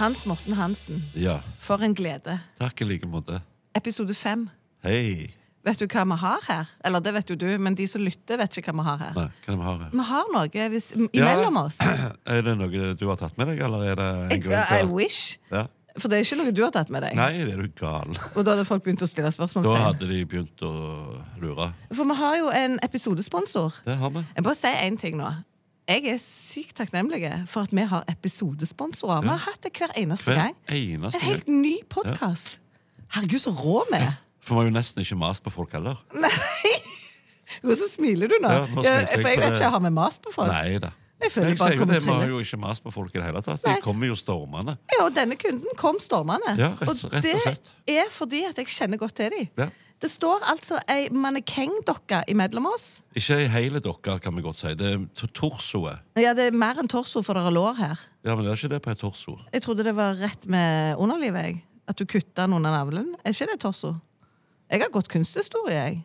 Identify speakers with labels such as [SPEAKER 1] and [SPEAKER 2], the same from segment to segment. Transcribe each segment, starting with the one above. [SPEAKER 1] Hans Morten Hansen,
[SPEAKER 2] Ja,
[SPEAKER 1] for en glede.
[SPEAKER 2] takk i like måte.
[SPEAKER 1] Episode fem.
[SPEAKER 2] Hei.
[SPEAKER 1] Vet du hva vi har her? Eller det vet jo du, men de som lytter, vet ikke hva vi har her.
[SPEAKER 2] Nei, hva er det vi har her?
[SPEAKER 1] Vi har noe hvis, m-
[SPEAKER 2] Ja.
[SPEAKER 1] imellom oss.
[SPEAKER 2] Er det noe du har tatt med deg, eller er det en
[SPEAKER 1] Jeg,
[SPEAKER 2] grunn
[SPEAKER 1] I
[SPEAKER 2] til at
[SPEAKER 1] wish.
[SPEAKER 2] ja.
[SPEAKER 1] For det er ikke noe du har tatt med deg.
[SPEAKER 2] Nei, er du gal?
[SPEAKER 1] Og da hadde folk begynt å stille
[SPEAKER 2] Da
[SPEAKER 1] spørsmålstegn.
[SPEAKER 2] hadde de begynt å lure.
[SPEAKER 1] For vi har jo en episodesponsor.
[SPEAKER 2] Det har vi.
[SPEAKER 1] Jeg bare sier én ting nå. Jeg er sykt takknemlig for at vi har episodesponsorer. Vi har hatt det hver eneste
[SPEAKER 2] Hver
[SPEAKER 1] gang.
[SPEAKER 2] eneste
[SPEAKER 1] En helt
[SPEAKER 2] gang.
[SPEAKER 1] ny podkast. Herregud, så rå vi er!
[SPEAKER 2] For vi har jo nesten ikke mast på folk heller.
[SPEAKER 1] Nei! Og så smiler du nå.
[SPEAKER 2] Ja, nå smilte jeg,
[SPEAKER 1] for jeg
[SPEAKER 2] for
[SPEAKER 1] vet
[SPEAKER 2] det-
[SPEAKER 1] ikke, har vi mast på folk?
[SPEAKER 2] Nei da.
[SPEAKER 1] Jeg føler jeg bare
[SPEAKER 2] sier jo
[SPEAKER 1] kommer
[SPEAKER 2] det, Vi har
[SPEAKER 1] til-
[SPEAKER 2] jo ikke mast på folk i det hele tatt.
[SPEAKER 1] Nei.
[SPEAKER 2] De kommer jo stormende.
[SPEAKER 1] Ja, og denne kunden kom stormende.
[SPEAKER 2] Ja, rett- rett og slett.
[SPEAKER 1] det er fordi at jeg kjenner godt til dem.
[SPEAKER 2] Ja.
[SPEAKER 1] Det står altså ei mannekengdokke imellom oss.
[SPEAKER 2] Ikke ei hele dokke, kan vi godt si. Det er to- torsoet.
[SPEAKER 1] Ja, det er mer enn torso, for det er lår her.
[SPEAKER 2] Ja, men det er ikke det på et torso.
[SPEAKER 1] Jeg trodde det var rett med underlivet. jeg. At du kutta den under navlen. Er ikke det torso? Jeg har godt kunsthistorie, jeg.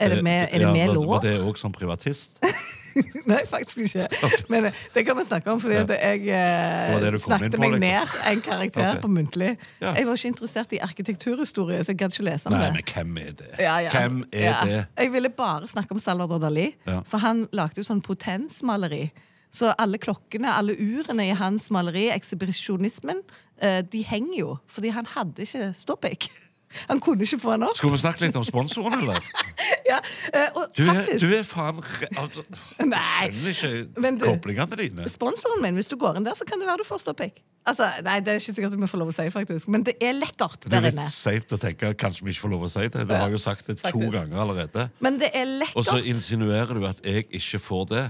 [SPEAKER 1] Er det med, er det
[SPEAKER 2] Eh, Ja,
[SPEAKER 1] med
[SPEAKER 2] var-
[SPEAKER 1] lår?
[SPEAKER 2] Var det òg som privatist?
[SPEAKER 1] Nei, faktisk ikke. Men eh, det kan vi snakke om, fordi at jeg eh,
[SPEAKER 2] Det var det du kom
[SPEAKER 1] snakket
[SPEAKER 2] inn på,
[SPEAKER 1] meg
[SPEAKER 2] liksom.
[SPEAKER 1] ned en karakter
[SPEAKER 2] Ok.
[SPEAKER 1] på muntlig.
[SPEAKER 2] Ja.
[SPEAKER 1] Jeg var ikke interessert i arkitekturhistorie, så jeg gadd ikke lese om
[SPEAKER 2] Nei,
[SPEAKER 1] det.
[SPEAKER 2] men hvem er det?
[SPEAKER 1] Ja, ja.
[SPEAKER 2] Hvem er
[SPEAKER 1] Ja.
[SPEAKER 2] det?
[SPEAKER 1] Jeg ville bare snakke om Salvador Dali.
[SPEAKER 2] Ja.
[SPEAKER 1] For han lagde jo sånn potensmaleri. Så alle klokkene, alle urene i hans maleri, ekshibisjonismen, eh, de henger jo. Fordi han hadde ikke stoppikk. Han kunne ikke få den opp.
[SPEAKER 2] Skulle vi snakke litt om sponsoren, eller?
[SPEAKER 1] Ja, eh, og
[SPEAKER 2] Du er,
[SPEAKER 1] faktisk-
[SPEAKER 2] du er faen re- altså,
[SPEAKER 1] Nei.
[SPEAKER 2] Jeg skjønner
[SPEAKER 1] Men du-
[SPEAKER 2] ikke koblingene dine.
[SPEAKER 1] Sponsoren min, hvis du går inn der, så kan det være du får stoppikk. Altså, nei, det er ikke sikkert vi får lov å si, faktisk. Men det er lekkert
[SPEAKER 2] Det er
[SPEAKER 1] der
[SPEAKER 2] litt
[SPEAKER 1] inne.
[SPEAKER 2] seigt å tenke kanskje vi ikke får lov å si det. Du har jo sagt det to
[SPEAKER 1] faktisk.
[SPEAKER 2] ganger allerede.
[SPEAKER 1] Men det er
[SPEAKER 2] Og så
[SPEAKER 1] lekkert.
[SPEAKER 2] insinuerer du at jeg ikke får det.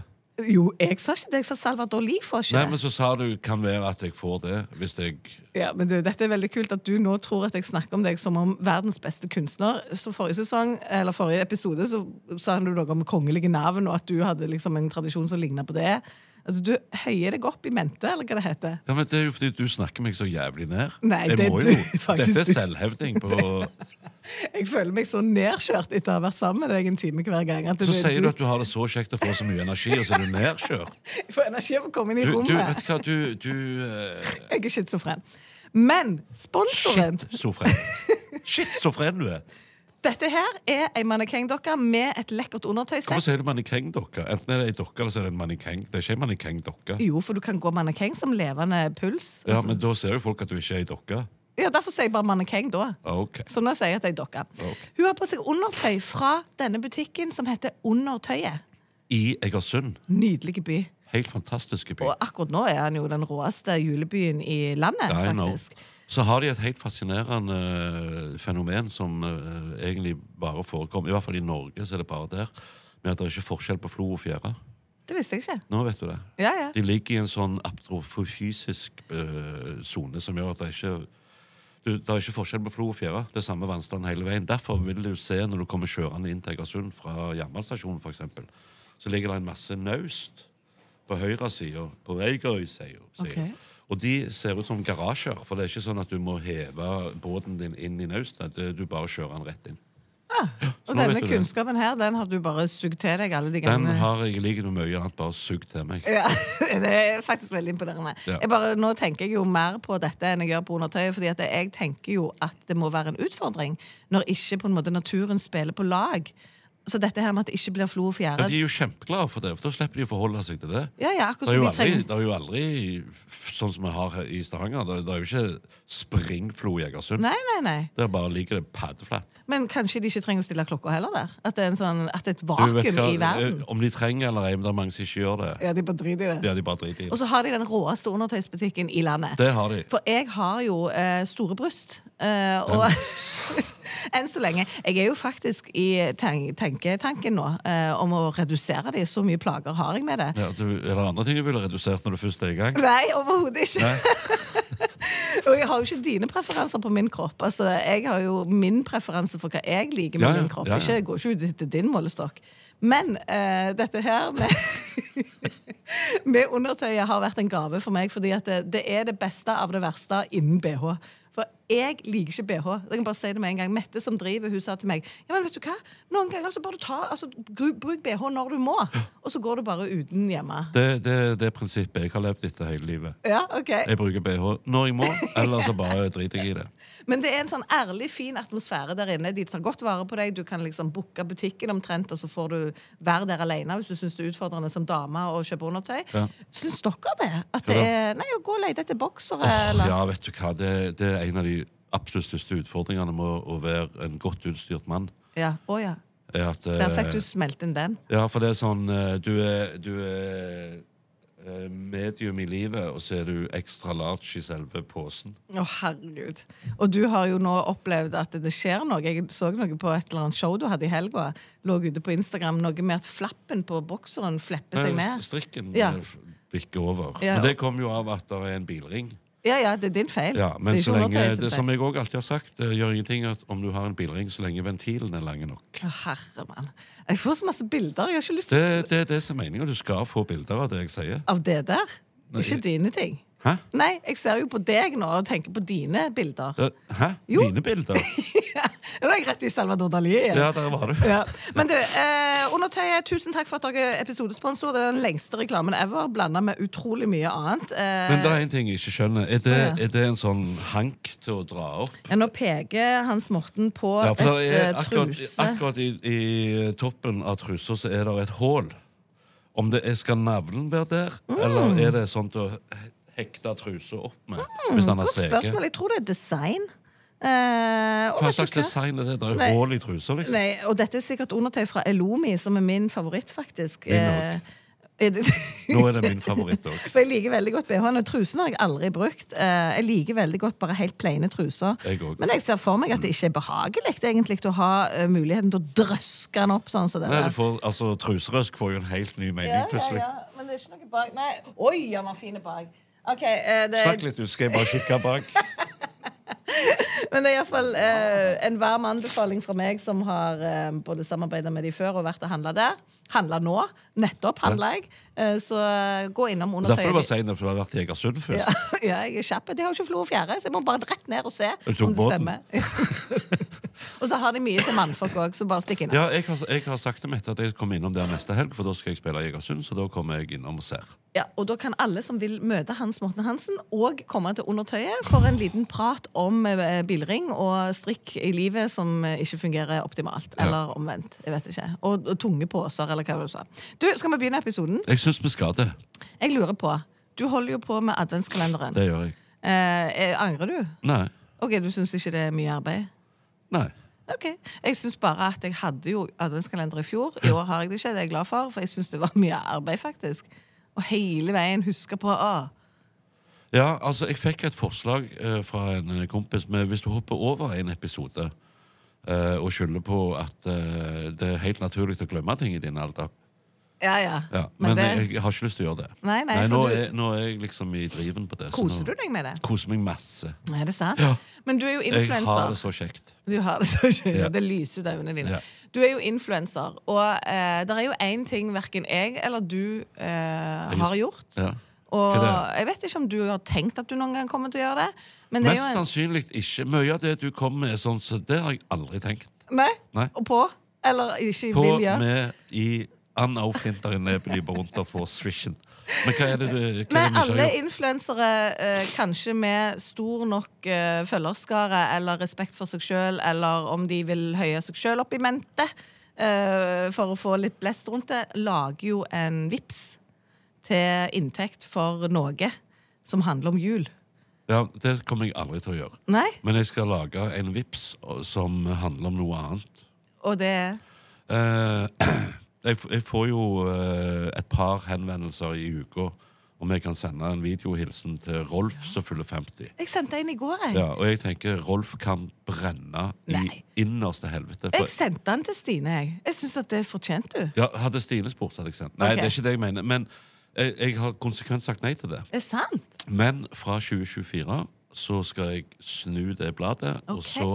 [SPEAKER 1] Jo, jeg sa ikke det. Jeg sa Salvador Li får ikke
[SPEAKER 2] Nei,
[SPEAKER 1] det.
[SPEAKER 2] men så sa du kan være at jeg får det hvis jeg
[SPEAKER 1] Ja, men du, Dette er veldig kult at du nå tror at jeg snakker om deg som om verdens beste kunstner. Så Forrige sesong, eller forrige episode så sa du noe om kongelige navn, og at du hadde liksom en tradisjon som ligna på det. Altså, Du høyer deg opp i mente, eller hva det heter.
[SPEAKER 2] Ja, men Det er jo fordi du snakker meg så jævlig ned.
[SPEAKER 1] Nei,
[SPEAKER 2] jeg
[SPEAKER 1] det er
[SPEAKER 2] må
[SPEAKER 1] du,
[SPEAKER 2] jo.
[SPEAKER 1] faktisk.
[SPEAKER 2] Dette er selvhevding. På,
[SPEAKER 1] Jeg føler meg så nedkjørt etter å ha vært sammen med deg en time hver gang. At
[SPEAKER 2] så sier du at du har det så kjekt å få så mye energi, og så er du nedkjørt.
[SPEAKER 1] Jeg får energi av å komme inn i
[SPEAKER 2] Du, du,
[SPEAKER 1] rommet.
[SPEAKER 2] vet du hva, du, du eh,
[SPEAKER 1] Jeg er schizofren. Men sponsoren
[SPEAKER 2] Shit, så fren. Shit, så fren du er.
[SPEAKER 1] Dette her er ei mannekengdokke med et lekkert
[SPEAKER 2] Hvorfor
[SPEAKER 1] undertøysett.
[SPEAKER 2] sier du mannekengdokke? Enten er det ei dokke eller så er det en mannekeng. Det er ikke en mannekengdokke.
[SPEAKER 1] Jo, for du kan gå mannekeng som levende puls.
[SPEAKER 2] Ja, men da ser jo folk at du ikke er ei dokke.
[SPEAKER 1] Ja, Derfor sier jeg bare mannekeng da.
[SPEAKER 2] Ok.
[SPEAKER 1] Så nå sier jeg at jeg er dokke. Hun har på seg undertøy fra denne butikken som heter Undertøyet.
[SPEAKER 2] I Egersund.
[SPEAKER 1] Nydelig by.
[SPEAKER 2] Helt fantastiske by.
[SPEAKER 1] Og akkurat nå er han jo den råeste julebyen i landet,
[SPEAKER 2] I know.
[SPEAKER 1] faktisk.
[SPEAKER 2] så har de et helt fascinerende eh, fenomen som eh, egentlig bare forekommer. I hvert fall i Norge så er det bare der. Med at det er ikke forskjell på flo og fjære.
[SPEAKER 1] Det visste jeg ikke.
[SPEAKER 2] Nå vet du det.
[SPEAKER 1] Ja, ja.
[SPEAKER 2] De ligger i en sånn aptrofysisk eh, sone som gjør at det er ikke du, det er ikke forskjell på flo og fjære. Det er samme vannstand hele veien. Derfor vil du se når du kommer kjørende inn til Egersund fra jernbanestasjonen, for eksempel, så ligger det en masse naust på høyresida. På Eigerøy, sier hun. sier hun.
[SPEAKER 1] Ok.
[SPEAKER 2] Og de ser ut som garasjer, for det er ikke sånn at du må heve båten din inn i naustet. det- Du bare kjører den rett inn.
[SPEAKER 1] Ah, Og denne
[SPEAKER 2] nå vet
[SPEAKER 1] eh.
[SPEAKER 2] du det.
[SPEAKER 1] kunnskapen her, den har du bare sugd til deg alle de
[SPEAKER 2] Den
[SPEAKER 1] gangene.
[SPEAKER 2] har jeg ligget noe mye annet bare sugd til meg.
[SPEAKER 1] Ja, det er faktisk veldig imponerende.
[SPEAKER 2] Ja.
[SPEAKER 1] Jeg bare, nå tenker jeg jo mer på dette enn jeg gjør på undertøyet. fordi at jeg tenker jo at det må være en utfordring når ikke på en måte naturen spiller på lag. Så dette her med at det ikke blir flo og
[SPEAKER 2] Ja,
[SPEAKER 1] fjære
[SPEAKER 2] de er jo kjempeglade for det, for da slipper de å forholde seg til det.
[SPEAKER 1] Ja, ja, akkurat
[SPEAKER 2] det, er jo
[SPEAKER 1] som de
[SPEAKER 2] aldri,
[SPEAKER 1] trenger.
[SPEAKER 2] det er jo aldri f- sånn som vi har her i Stavanger. Det, det er jo ikke springflo i Egersund.
[SPEAKER 1] Nei, nei, nei.
[SPEAKER 2] Der bare ligger det paddeflatt.
[SPEAKER 1] Men kanskje de ikke trenger å stille klokka heller der? At det er en sånn, at det er et
[SPEAKER 2] Du vet
[SPEAKER 1] vakuum
[SPEAKER 2] hva,
[SPEAKER 1] i verden?
[SPEAKER 2] eh, Om de trenger eller ei, men det er mange som ikke gjør det.
[SPEAKER 1] Ja, de bare driter i det.
[SPEAKER 2] Ja, de bare driter i
[SPEAKER 1] Og
[SPEAKER 2] det.
[SPEAKER 1] så har de den råeste undertøysbutikken i landet.
[SPEAKER 2] Det har de.
[SPEAKER 1] For jeg har jo eh, store bryst. Eh, og enn så lenge. Jeg er jo faktisk i ten tenketanken nå eh, om å redusere de. Så mye plager har jeg med det.
[SPEAKER 2] Ja, du, er det andre ting du ville redusert når du først er i gang?
[SPEAKER 1] Nei, overhodet ikke.
[SPEAKER 2] Nei.
[SPEAKER 1] og jeg har jo ikke dine preferanser på min kropp. Altså, jeg har jo min preferanse for hva jeg liker med
[SPEAKER 2] Ja, ja,
[SPEAKER 1] min kropp.
[SPEAKER 2] ja, ja.
[SPEAKER 1] Ikke, jeg går ikke ut etter din målestokk. Men eh, dette her med, med undertøyet har vært en gave for meg, fordi at det, det er det beste av det verste innen BH. For jeg liker ikke BH. Jeg kan bare si det med en gang. Mette som driver, hun sa til meg Ja, men vet du hva? Noen ganger så bør du ta, altså, gru- bruk BH når du må, og så går du bare uten hjemme.
[SPEAKER 2] Det, det, det er prinsippet jeg har levd etter hele livet.
[SPEAKER 1] Ja, ok.
[SPEAKER 2] Jeg bruker BH når jeg må, eller så bare driter jeg i det.
[SPEAKER 1] Men det er en sånn ærlig, fin atmosfære der inne. De tar godt vare på deg. Du kan liksom booke butikken omtrent, og så får du være der alene hvis du syns det er utfordrende som dame å kjøpe undertøy.
[SPEAKER 2] Ja.
[SPEAKER 1] Syns dere det? At det
[SPEAKER 2] Ja.
[SPEAKER 1] er Nei, å gå og lete etter boksere,
[SPEAKER 2] Åh,
[SPEAKER 1] eller
[SPEAKER 2] Ja, vet du hva, det, det er en av de absolutt største utfordringene med å- å være en godt utstyrt mann.
[SPEAKER 1] ja. Å ja.
[SPEAKER 2] Er at,
[SPEAKER 1] Der
[SPEAKER 2] eh,
[SPEAKER 1] fikk du smelt inn den.
[SPEAKER 2] Ja, for det er sånn eh, Du er, du er eh, medium i livet, og så er du ekstra large i selve posen.
[SPEAKER 1] Å, herregud. Og du har jo nå opplevd at det skjer noe. Jeg så noe på et eller annet show du hadde i helga. Lå ute på Instagram noe med at flappen på bokseren flipper seg
[SPEAKER 2] Nei,
[SPEAKER 1] ned.
[SPEAKER 2] Strikken
[SPEAKER 1] Ja.
[SPEAKER 2] eh, bikker over.
[SPEAKER 1] Ja.
[SPEAKER 2] Men det kom jo av at det er en bilring.
[SPEAKER 1] Ja, ja, det er din feil.
[SPEAKER 2] Ja, men
[SPEAKER 1] det er
[SPEAKER 2] så
[SPEAKER 1] ikke
[SPEAKER 2] lenge,
[SPEAKER 1] undertøyet sin
[SPEAKER 2] det
[SPEAKER 1] feil.
[SPEAKER 2] som jeg òg alltid har sagt, det gjør ingenting at om du har en bilring så lenge ventilen er lang nok.
[SPEAKER 1] Å, herre mann. Jeg får så masse bilder. Jeg har ikke lyst
[SPEAKER 2] Det,
[SPEAKER 1] til å s-
[SPEAKER 2] det er det som er meninga. Du skal få bilder av det jeg sier.
[SPEAKER 1] Av det der?
[SPEAKER 2] Nei.
[SPEAKER 1] Ikke dine ting.
[SPEAKER 2] Hæ?
[SPEAKER 1] Nei, jeg ser jo på deg nå og tenker på dine bilder.
[SPEAKER 2] Det, hæ?
[SPEAKER 1] Jo.
[SPEAKER 2] Dine bilder?
[SPEAKER 1] Nå er jeg rett i Salvador Dali igjen.
[SPEAKER 2] Ja, der var du.
[SPEAKER 1] Ja. Men du, eh, Undertøyet, tusen takk for at dere er episodesponsor. Det er den lengste reklamen ever, blanda med utrolig mye annet. Eh,
[SPEAKER 2] Men det er en ting jeg ikke skjønner. Er det,
[SPEAKER 1] Ja.
[SPEAKER 2] er det en sånn hank til å dra opp?
[SPEAKER 1] ja, nå peker Hans Morten på
[SPEAKER 2] Ja,
[SPEAKER 1] et
[SPEAKER 2] for det er
[SPEAKER 1] eh,
[SPEAKER 2] akkurat,
[SPEAKER 1] truse.
[SPEAKER 2] akkurat i, i toppen av trusa så er det et hull. Om det er, skal navlen være der,
[SPEAKER 1] Mm.
[SPEAKER 2] eller er det sånn til å he- hekte trusa opp med? hvis den er
[SPEAKER 1] Mm, Godt
[SPEAKER 2] sege.
[SPEAKER 1] spørsmål. Jeg tror det er design. Eh, og
[SPEAKER 2] Hva
[SPEAKER 1] vet du
[SPEAKER 2] slags design er det? Det er
[SPEAKER 1] Nei.
[SPEAKER 2] jo hull i trusa, liksom.
[SPEAKER 1] Nei, og dette er sikkert undertøy fra Elomi, som er min favoritt, faktisk.
[SPEAKER 2] Min også.
[SPEAKER 1] Eh, er det-
[SPEAKER 2] Nå er det min favoritt òg.
[SPEAKER 1] For jeg liker veldig godt BH-en, og trusene har jeg aldri brukt. Eh, Jeg liker veldig godt bare helt plaine truser.
[SPEAKER 2] Jeg også.
[SPEAKER 1] Men jeg ser for meg at det ikke er behagelig egentlig til å ha eh, muligheten til å drøske den opp sånn som det
[SPEAKER 2] Nei,
[SPEAKER 1] der.
[SPEAKER 2] du får, altså, Truserøsk får jo en helt ny mening,
[SPEAKER 1] Ja, ja,
[SPEAKER 2] plutselig.
[SPEAKER 1] ja, men det er ikke noe bak. Nei. Oi, han var fin bak. Ok, eh, det,
[SPEAKER 2] Snakk litt, du. Skal jeg bare kikke bak?
[SPEAKER 1] Men det er iallfall eh, en varm anbefaling fra meg som har eh, både samarbeida med de før og vært og handla der. Handla nå. Nettopp handla jeg. Eh, så eh, gå innom
[SPEAKER 2] Derfor er det bare
[SPEAKER 1] undertøyet.
[SPEAKER 2] si det, for du har vært i Egersund
[SPEAKER 1] Ja,
[SPEAKER 2] først.
[SPEAKER 1] ja, jeg er kjapp. De har jo ikke flo og fjære, så jeg må bare rett ned og se
[SPEAKER 2] Du
[SPEAKER 1] om
[SPEAKER 2] tok
[SPEAKER 1] det
[SPEAKER 2] båten.
[SPEAKER 1] stemmer. og så har de mye til mannfolk òg, så bare stikk innom.
[SPEAKER 2] Ja, jeg har, jeg har sagt til Mette at jeg kommer innom der neste helg, for da skal jeg spille i Egersund. Så da kommer jeg innom og ser.
[SPEAKER 1] Ja, og da kan alle som vil møte Hans Morten Hansen, og komme til Undertøyet for en liten prat om eh, bilring og strikk i livet som eh, ikke fungerer optimalt. Eller omvendt. jeg vet ikke. Og, og tunge poser, eller hva du sa. Du, Skal vi begynne episoden?
[SPEAKER 2] Jeg syns vi skal det.
[SPEAKER 1] Jeg lurer på. Du holder jo på med adventskalenderen.
[SPEAKER 2] Det gjør jeg.
[SPEAKER 1] Eh, eh, angrer du?
[SPEAKER 2] Nei.
[SPEAKER 1] Ok, Du syns ikke det er mye arbeid?
[SPEAKER 2] Nei.
[SPEAKER 1] Ok, Jeg syns bare at jeg hadde jo adventskalender i fjor. I år har jeg det ikke. Det er jeg glad for, for jeg syns det var mye arbeid, faktisk. Og hele veien huske på å,
[SPEAKER 2] Ja, altså, jeg fikk et forslag eh, fra en eh, kompis med hvis du hopper over en episode eh, og skylder på at eh, det er helt naturlig å glemme ting i din alder
[SPEAKER 1] Ja, ja.
[SPEAKER 2] ja,
[SPEAKER 1] Men
[SPEAKER 2] Men,
[SPEAKER 1] det-
[SPEAKER 2] jeg har ikke lyst til å gjøre det.
[SPEAKER 1] Nei, nei,
[SPEAKER 2] nå,
[SPEAKER 1] for du-
[SPEAKER 2] er, nå er jeg liksom i driven på det. så
[SPEAKER 1] Koser
[SPEAKER 2] nå-
[SPEAKER 1] du deg med det?
[SPEAKER 2] Koser meg masse.
[SPEAKER 1] Er det sant?
[SPEAKER 2] Ja.
[SPEAKER 1] Men du er jo
[SPEAKER 2] Jeg har
[SPEAKER 1] influenser.
[SPEAKER 2] det så kjekt.
[SPEAKER 1] Du har det så kjent.
[SPEAKER 2] Ja.
[SPEAKER 1] Det lyser ut av øynene dine.
[SPEAKER 2] Ja.
[SPEAKER 1] Du er jo influenser, og eh, det er jo én ting verken jeg eller du eh, har gjort.
[SPEAKER 2] Ja.
[SPEAKER 1] Og
[SPEAKER 2] Hva
[SPEAKER 1] jeg vet ikke om du har tenkt at du noen gang kommer til å gjøre det. Men det er
[SPEAKER 2] Mest
[SPEAKER 1] jo en...
[SPEAKER 2] sannsynlig ikke. Mye av det du kommer med, er sånn, så det har jeg aldri tenkt
[SPEAKER 1] Nei?
[SPEAKER 2] Nei.
[SPEAKER 1] Og på? Eller ikke
[SPEAKER 2] på
[SPEAKER 1] vil gjøre?
[SPEAKER 2] med i unaufhinteren nebenliber rundt og får swishen. Men hva er det du hva er det vi
[SPEAKER 1] Nei,
[SPEAKER 2] ikke har
[SPEAKER 1] alle
[SPEAKER 2] gjort?
[SPEAKER 1] influensere, eh, kanskje med stor nok eh, følgerskare eller respekt for seg sjøl, eller om de vil høye seg sjøl opp i mente eh, for å få litt blest rundt det, lager jo en vips til inntekt for noe som handler om jul.
[SPEAKER 2] Ja, Det kommer jeg aldri til å gjøre.
[SPEAKER 1] Nei?
[SPEAKER 2] Men jeg skal lage en vips som handler om noe annet.
[SPEAKER 1] Og det er
[SPEAKER 2] Eh, jeg, f- jeg får jo eh, et par henvendelser i uka om jeg kan sende en videohilsen til Rolf som fyller 50.
[SPEAKER 1] Jeg sendte en i går, jeg.
[SPEAKER 2] Ja, og jeg tenker Rolf kan brenne
[SPEAKER 1] Nei.
[SPEAKER 2] i innerste helvete.
[SPEAKER 1] Jeg sendte den til Stine, jeg. Jeg syns at det fortjente du.
[SPEAKER 2] Ja, hadde Stine spurt, så hadde jeg sendt. Nei,
[SPEAKER 1] Ok.
[SPEAKER 2] det er ikke det jeg mener. Men jeg, jeg har konsekvent sagt nei til det.
[SPEAKER 1] Det er sant.
[SPEAKER 2] Men fra 2024 så skal jeg snu det bladet, og
[SPEAKER 1] Ok.
[SPEAKER 2] så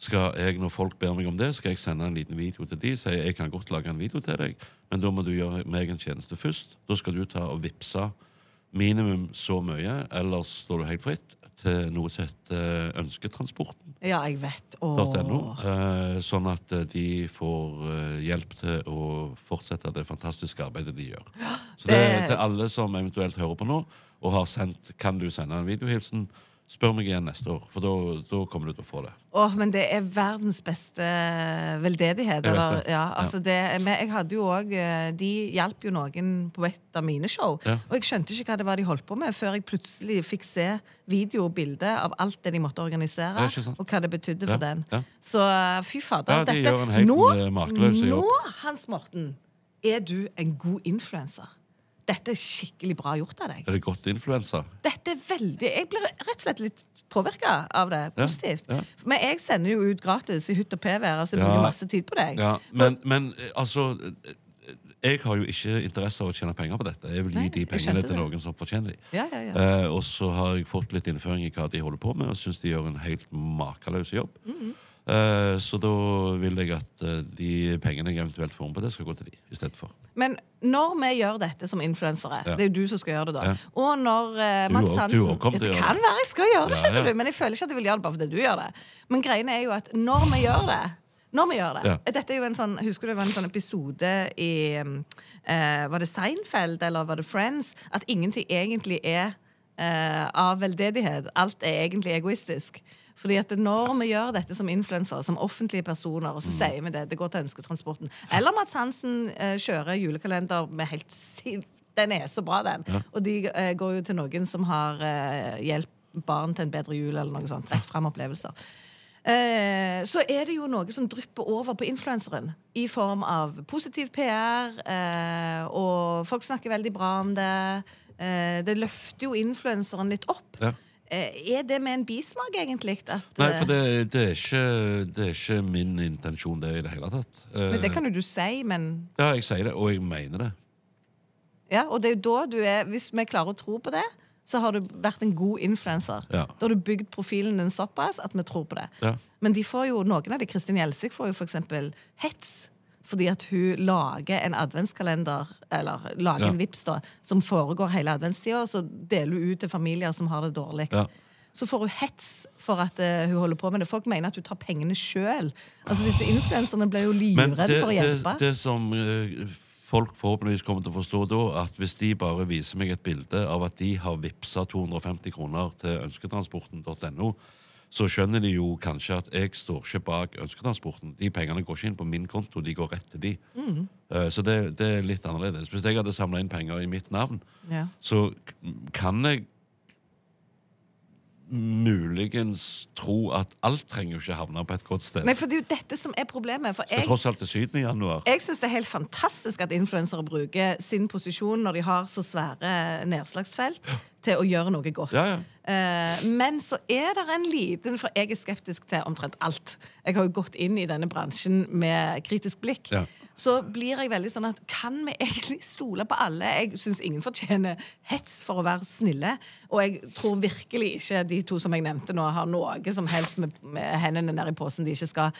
[SPEAKER 2] skal jeg, når folk ber meg om det, skal jeg sende en liten video til de, sier jeg kan godt lage en video til deg, men da må du gjøre meg en tjeneste først. Da skal du ta og vippse minimum så mye, ellers står du helt fritt, til noe som heter ønsketransporten.no,
[SPEAKER 1] Ja, jeg vet. Åh.
[SPEAKER 2] eh, sånn at eh, de får eh, hjelp til å fortsette det fantastiske arbeidet de gjør. Så det er
[SPEAKER 1] det-
[SPEAKER 2] til alle som eventuelt hører på nå, og har sendt 'Kan du sende en videohilsen', spør meg igjen neste år, for da- da kommer du til å få det.
[SPEAKER 1] Åh, men det er verdens beste eh, veldedighet.
[SPEAKER 2] Jeg vet
[SPEAKER 1] Eller,
[SPEAKER 2] det.
[SPEAKER 1] ja, altså det, men jeg hadde jo òg De hjalp jo noen på et av mine show.
[SPEAKER 2] Ja.
[SPEAKER 1] Og jeg skjønte ikke hva det var de holdt på med, før jeg plutselig fikk se video og bilde av alt det de måtte organisere,
[SPEAKER 2] Ja, ikke sant?
[SPEAKER 1] og hva det betydde
[SPEAKER 2] Ja,
[SPEAKER 1] for den.
[SPEAKER 2] ja.
[SPEAKER 1] Så eh, fy fader.
[SPEAKER 2] Ja, de
[SPEAKER 1] dette,
[SPEAKER 2] gjør en helt, eh, makeløs
[SPEAKER 1] nå,
[SPEAKER 2] jobb.
[SPEAKER 1] Hans Morten, er du en god influenser. Dette er skikkelig bra gjort av deg.
[SPEAKER 2] Er det godt influensa?
[SPEAKER 1] Dette er veldig Jeg blir rett og slett litt påvirka av det. Positivt.
[SPEAKER 2] ja.
[SPEAKER 1] Men jeg sender jo ut gratis i hytt og pevær, så jeg
[SPEAKER 2] Ja.
[SPEAKER 1] bruker masse tid på deg.
[SPEAKER 2] Ja, men, men eh, altså eh, Jeg har jo ikke interesse av å tjene penger på dette. Jeg vil gi
[SPEAKER 1] Nei,
[SPEAKER 2] de
[SPEAKER 1] jeg
[SPEAKER 2] pengene
[SPEAKER 1] skjønte
[SPEAKER 2] til
[SPEAKER 1] det.
[SPEAKER 2] noen som fortjener de.
[SPEAKER 1] Ja, ja, ja.
[SPEAKER 2] Eh, og så har jeg fått litt innføring i hva de holder på med, og syns de gjør en helt makeløs jobb.
[SPEAKER 1] Mhm.
[SPEAKER 2] Eh, så da vil jeg at eh, de pengene jeg eventuelt får inn på det, skal gå til de i stedet for.
[SPEAKER 1] Men når vi gjør dette som influensere
[SPEAKER 2] Ja.
[SPEAKER 1] Det er jo du som skal gjøre det, da.
[SPEAKER 2] Ja.
[SPEAKER 1] Og når eh,
[SPEAKER 2] Du
[SPEAKER 1] Mads
[SPEAKER 2] også-
[SPEAKER 1] Hansen
[SPEAKER 2] du også kommer
[SPEAKER 1] Ja,
[SPEAKER 2] til å
[SPEAKER 1] Det
[SPEAKER 2] gjøre
[SPEAKER 1] kan
[SPEAKER 2] det.
[SPEAKER 1] være jeg skal gjøre det,
[SPEAKER 2] Ja,
[SPEAKER 1] skjønner
[SPEAKER 2] ja.
[SPEAKER 1] du. Men jeg føler ikke at jeg vil gjøre det bare fordi du gjør det. Men greiene er jo at når vi gjør det når vi gjør det.
[SPEAKER 2] Ja.
[SPEAKER 1] Dette er jo en sånn, Husker du det var en sånn episode i eh, Var det Seinfeld eller var det Friends? At ingenting egentlig er eh, av veldedighet. Alt er egentlig egoistisk. Fordi at Når vi gjør dette som influensere, som offentlige personer, og så sier vi det, det går til ønsketransporten Eller Mads Hansen eh, kjører julekalender med helt si- Den er så bra, den. Og de eh, går jo til noen som har eh, hjelp barn til en bedre jul, eller noe sånt. Rett frem opplevelser. Eh, så er det jo noe som drypper over på influenseren. I form av positiv PR, eh, og folk snakker veldig bra om det. Eh, det løfter jo influenseren litt opp.
[SPEAKER 2] Ja.
[SPEAKER 1] Eh, er det med en bismak, egentlig? At, eh,
[SPEAKER 2] Nei, for det, det, er ikke, det er ikke min intensjon, det i det hele tatt. Eh,
[SPEAKER 1] Men det kan jo du si, men
[SPEAKER 2] Ja, jeg sier det, og jeg mener det.
[SPEAKER 1] ja, Og det er jo da du er Hvis vi klarer å tro på det, så har du vært en god influenser.
[SPEAKER 2] Ja.
[SPEAKER 1] Da har du bygd profilen din såpass at vi tror på det.
[SPEAKER 2] Ja.
[SPEAKER 1] Men de får jo, noen av de, Kristin Gjelsvik får jo for eksempel hets. Fordi at hun lager en adventskalender, eller lager
[SPEAKER 2] Ja.
[SPEAKER 1] en vips da, som foregår hele adventstida, og så deler hun ut til familier som har det dårlig.
[SPEAKER 2] Ja.
[SPEAKER 1] Så får hun hets for at eh, hun holder på med det. Folk mener at hun tar pengene sjøl. Altså, disse influenserne blir jo
[SPEAKER 2] Men
[SPEAKER 1] livredde
[SPEAKER 2] det,
[SPEAKER 1] for å hjelpe.
[SPEAKER 2] det, det som eh, folk forhåpentligvis kommer til å forstå da, at hvis de bare viser meg et bilde av at de har vippsa 250 kroner til ønsketransporten.no, så skjønner de jo kanskje at jeg står ikke bak ønsketransporten. De pengene går ikke inn på min konto, de går rett til de.
[SPEAKER 1] Mm.
[SPEAKER 2] Eh, Så det, det er litt annerledes. Hvis jeg hadde samla inn penger i mitt navn,
[SPEAKER 1] Ja.
[SPEAKER 2] så k- kan jeg muligens tro at alt trenger jo ikke havne på et godt sted.
[SPEAKER 1] Nei, for det er jo dette som er problemet. For
[SPEAKER 2] Det er
[SPEAKER 1] jeg
[SPEAKER 2] tross alt til Syden i januar.
[SPEAKER 1] Jeg synes det er helt fantastisk at influensere bruker sin posisjon når de har så svære nedslagsfelt, til å gjøre noe godt.
[SPEAKER 2] Ja, ja.
[SPEAKER 1] Eh, men så er det en liten For jeg er skeptisk til omtrent alt. Jeg har jo gått inn i denne bransjen med kritisk blikk.
[SPEAKER 2] Ja.
[SPEAKER 1] Så blir jeg veldig sånn at kan vi egentlig stole på alle? Jeg syns ingen fortjener hets for å være snille. Og jeg tror virkelig ikke de to som jeg nevnte nå, har noe som helst med, med hendene nedi posen de ikke skal.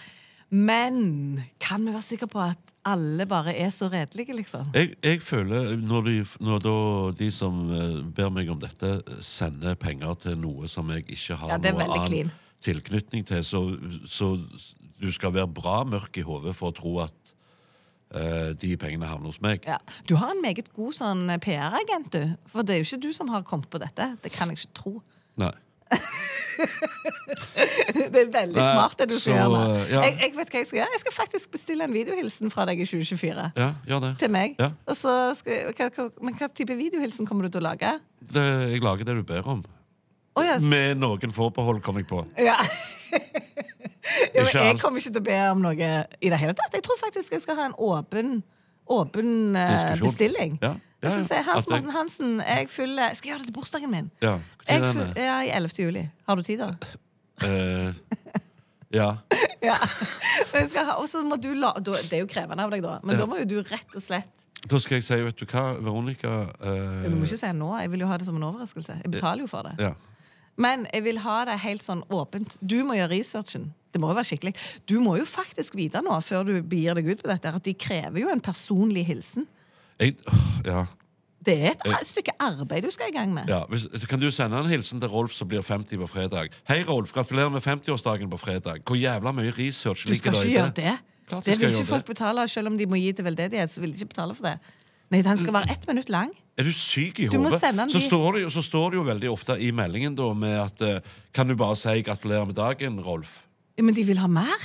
[SPEAKER 1] Men kan vi være sikre på at alle bare er så redelige, liksom?
[SPEAKER 2] Jeg, jeg føler, når de, når da de som eh, ber meg om dette, sender penger til noe som jeg ikke har
[SPEAKER 1] Ja, det er
[SPEAKER 2] noe
[SPEAKER 1] veldig
[SPEAKER 2] annen
[SPEAKER 1] clean.
[SPEAKER 2] tilknytning til, så, så du skal være bra mørk i hodet for å tro at eh, de pengene havner hos meg.
[SPEAKER 1] Ja. Du har en meget god sånn PR-agent, du. For det er jo ikke du som har kommet på dette. Det kan jeg ikke tro.
[SPEAKER 2] Nei.
[SPEAKER 1] Det er veldig
[SPEAKER 2] Nei,
[SPEAKER 1] smart, det du skal
[SPEAKER 2] så, eh,
[SPEAKER 1] gjøre. nå.
[SPEAKER 2] ja.
[SPEAKER 1] Jeg, jeg vet hva jeg skal gjøre. Jeg skal faktisk bestille en videohilsen fra deg i 2024.
[SPEAKER 2] Ja, gjør det.
[SPEAKER 1] Til meg.
[SPEAKER 2] Ja.
[SPEAKER 1] Og så skal, jeg- hva, hva, men hva type videohilsen kommer du til å lage?
[SPEAKER 2] Det, jeg lager det du ber om.
[SPEAKER 1] Å, ja, s-
[SPEAKER 2] Med noen forbehold, kom jeg på.
[SPEAKER 1] ja. ja, men
[SPEAKER 2] Ikke
[SPEAKER 1] jeg
[SPEAKER 2] alt.
[SPEAKER 1] kommer ikke til å be om noe i det hele tatt. Jeg tror faktisk jeg skal ha en åpen, åpen eh,
[SPEAKER 2] Diskusjon.
[SPEAKER 1] bestilling.
[SPEAKER 2] Ja, ja,
[SPEAKER 1] Jeg skal
[SPEAKER 2] ja.
[SPEAKER 1] si, Hans
[SPEAKER 2] At jeg-
[SPEAKER 1] Morten Hansen, jeg fyller Jeg skal gjøre det til bursdagen min.
[SPEAKER 2] Ja, hvor
[SPEAKER 1] Jeg
[SPEAKER 2] tid er
[SPEAKER 1] fyller,
[SPEAKER 2] det?
[SPEAKER 1] ja, I 11. juli. Har du tid, da?
[SPEAKER 2] Eh, ja.
[SPEAKER 1] Ja. Men jeg skal ha- Og så må du la da, Det er jo krevende av deg, da. Men da må jo du rett og slett
[SPEAKER 2] Da skal jeg si, vet du hva, Veronica eh,
[SPEAKER 1] Du må ikke si nå. Jeg vil jo ha det som en overraskelse. Jeg betaler jo for det.
[SPEAKER 2] ja.
[SPEAKER 1] Men jeg vil ha det helt sånn åpent. Du må gjøre researchen. Det må jo være skikkelig. Du må jo faktisk vite nå, før du begir deg ut på dette, at de krever jo en personlig hilsen.
[SPEAKER 2] Jeg, åh, ja.
[SPEAKER 1] Det er et a- stykke arbeid du skal i gang med.
[SPEAKER 2] Ja, hvis, så kan du sende en hilsen til Rolf som blir 50 på fredag? Hei, Rolf. Gratulerer med 50-årsdagen på fredag. Hvor jævla mye research
[SPEAKER 1] Du skal
[SPEAKER 2] ligger der
[SPEAKER 1] ikke
[SPEAKER 2] i
[SPEAKER 1] gjøre det.
[SPEAKER 2] Klart jeg
[SPEAKER 1] Det
[SPEAKER 2] skal
[SPEAKER 1] vil
[SPEAKER 2] gjøre
[SPEAKER 1] ikke folk betale, selv om de må gi til veldedighet. så vil de ikke betale for det. Nei, Den skal være ett minutt lang.
[SPEAKER 2] Er du syk i
[SPEAKER 1] Du må
[SPEAKER 2] hodet?
[SPEAKER 1] sende en
[SPEAKER 2] Så,
[SPEAKER 1] vi-
[SPEAKER 2] står det jo- så står det jo veldig ofte i meldingen da med at eh, Kan du bare si 'gratulerer med dagen', Rolf?
[SPEAKER 1] Men de vil ha mer.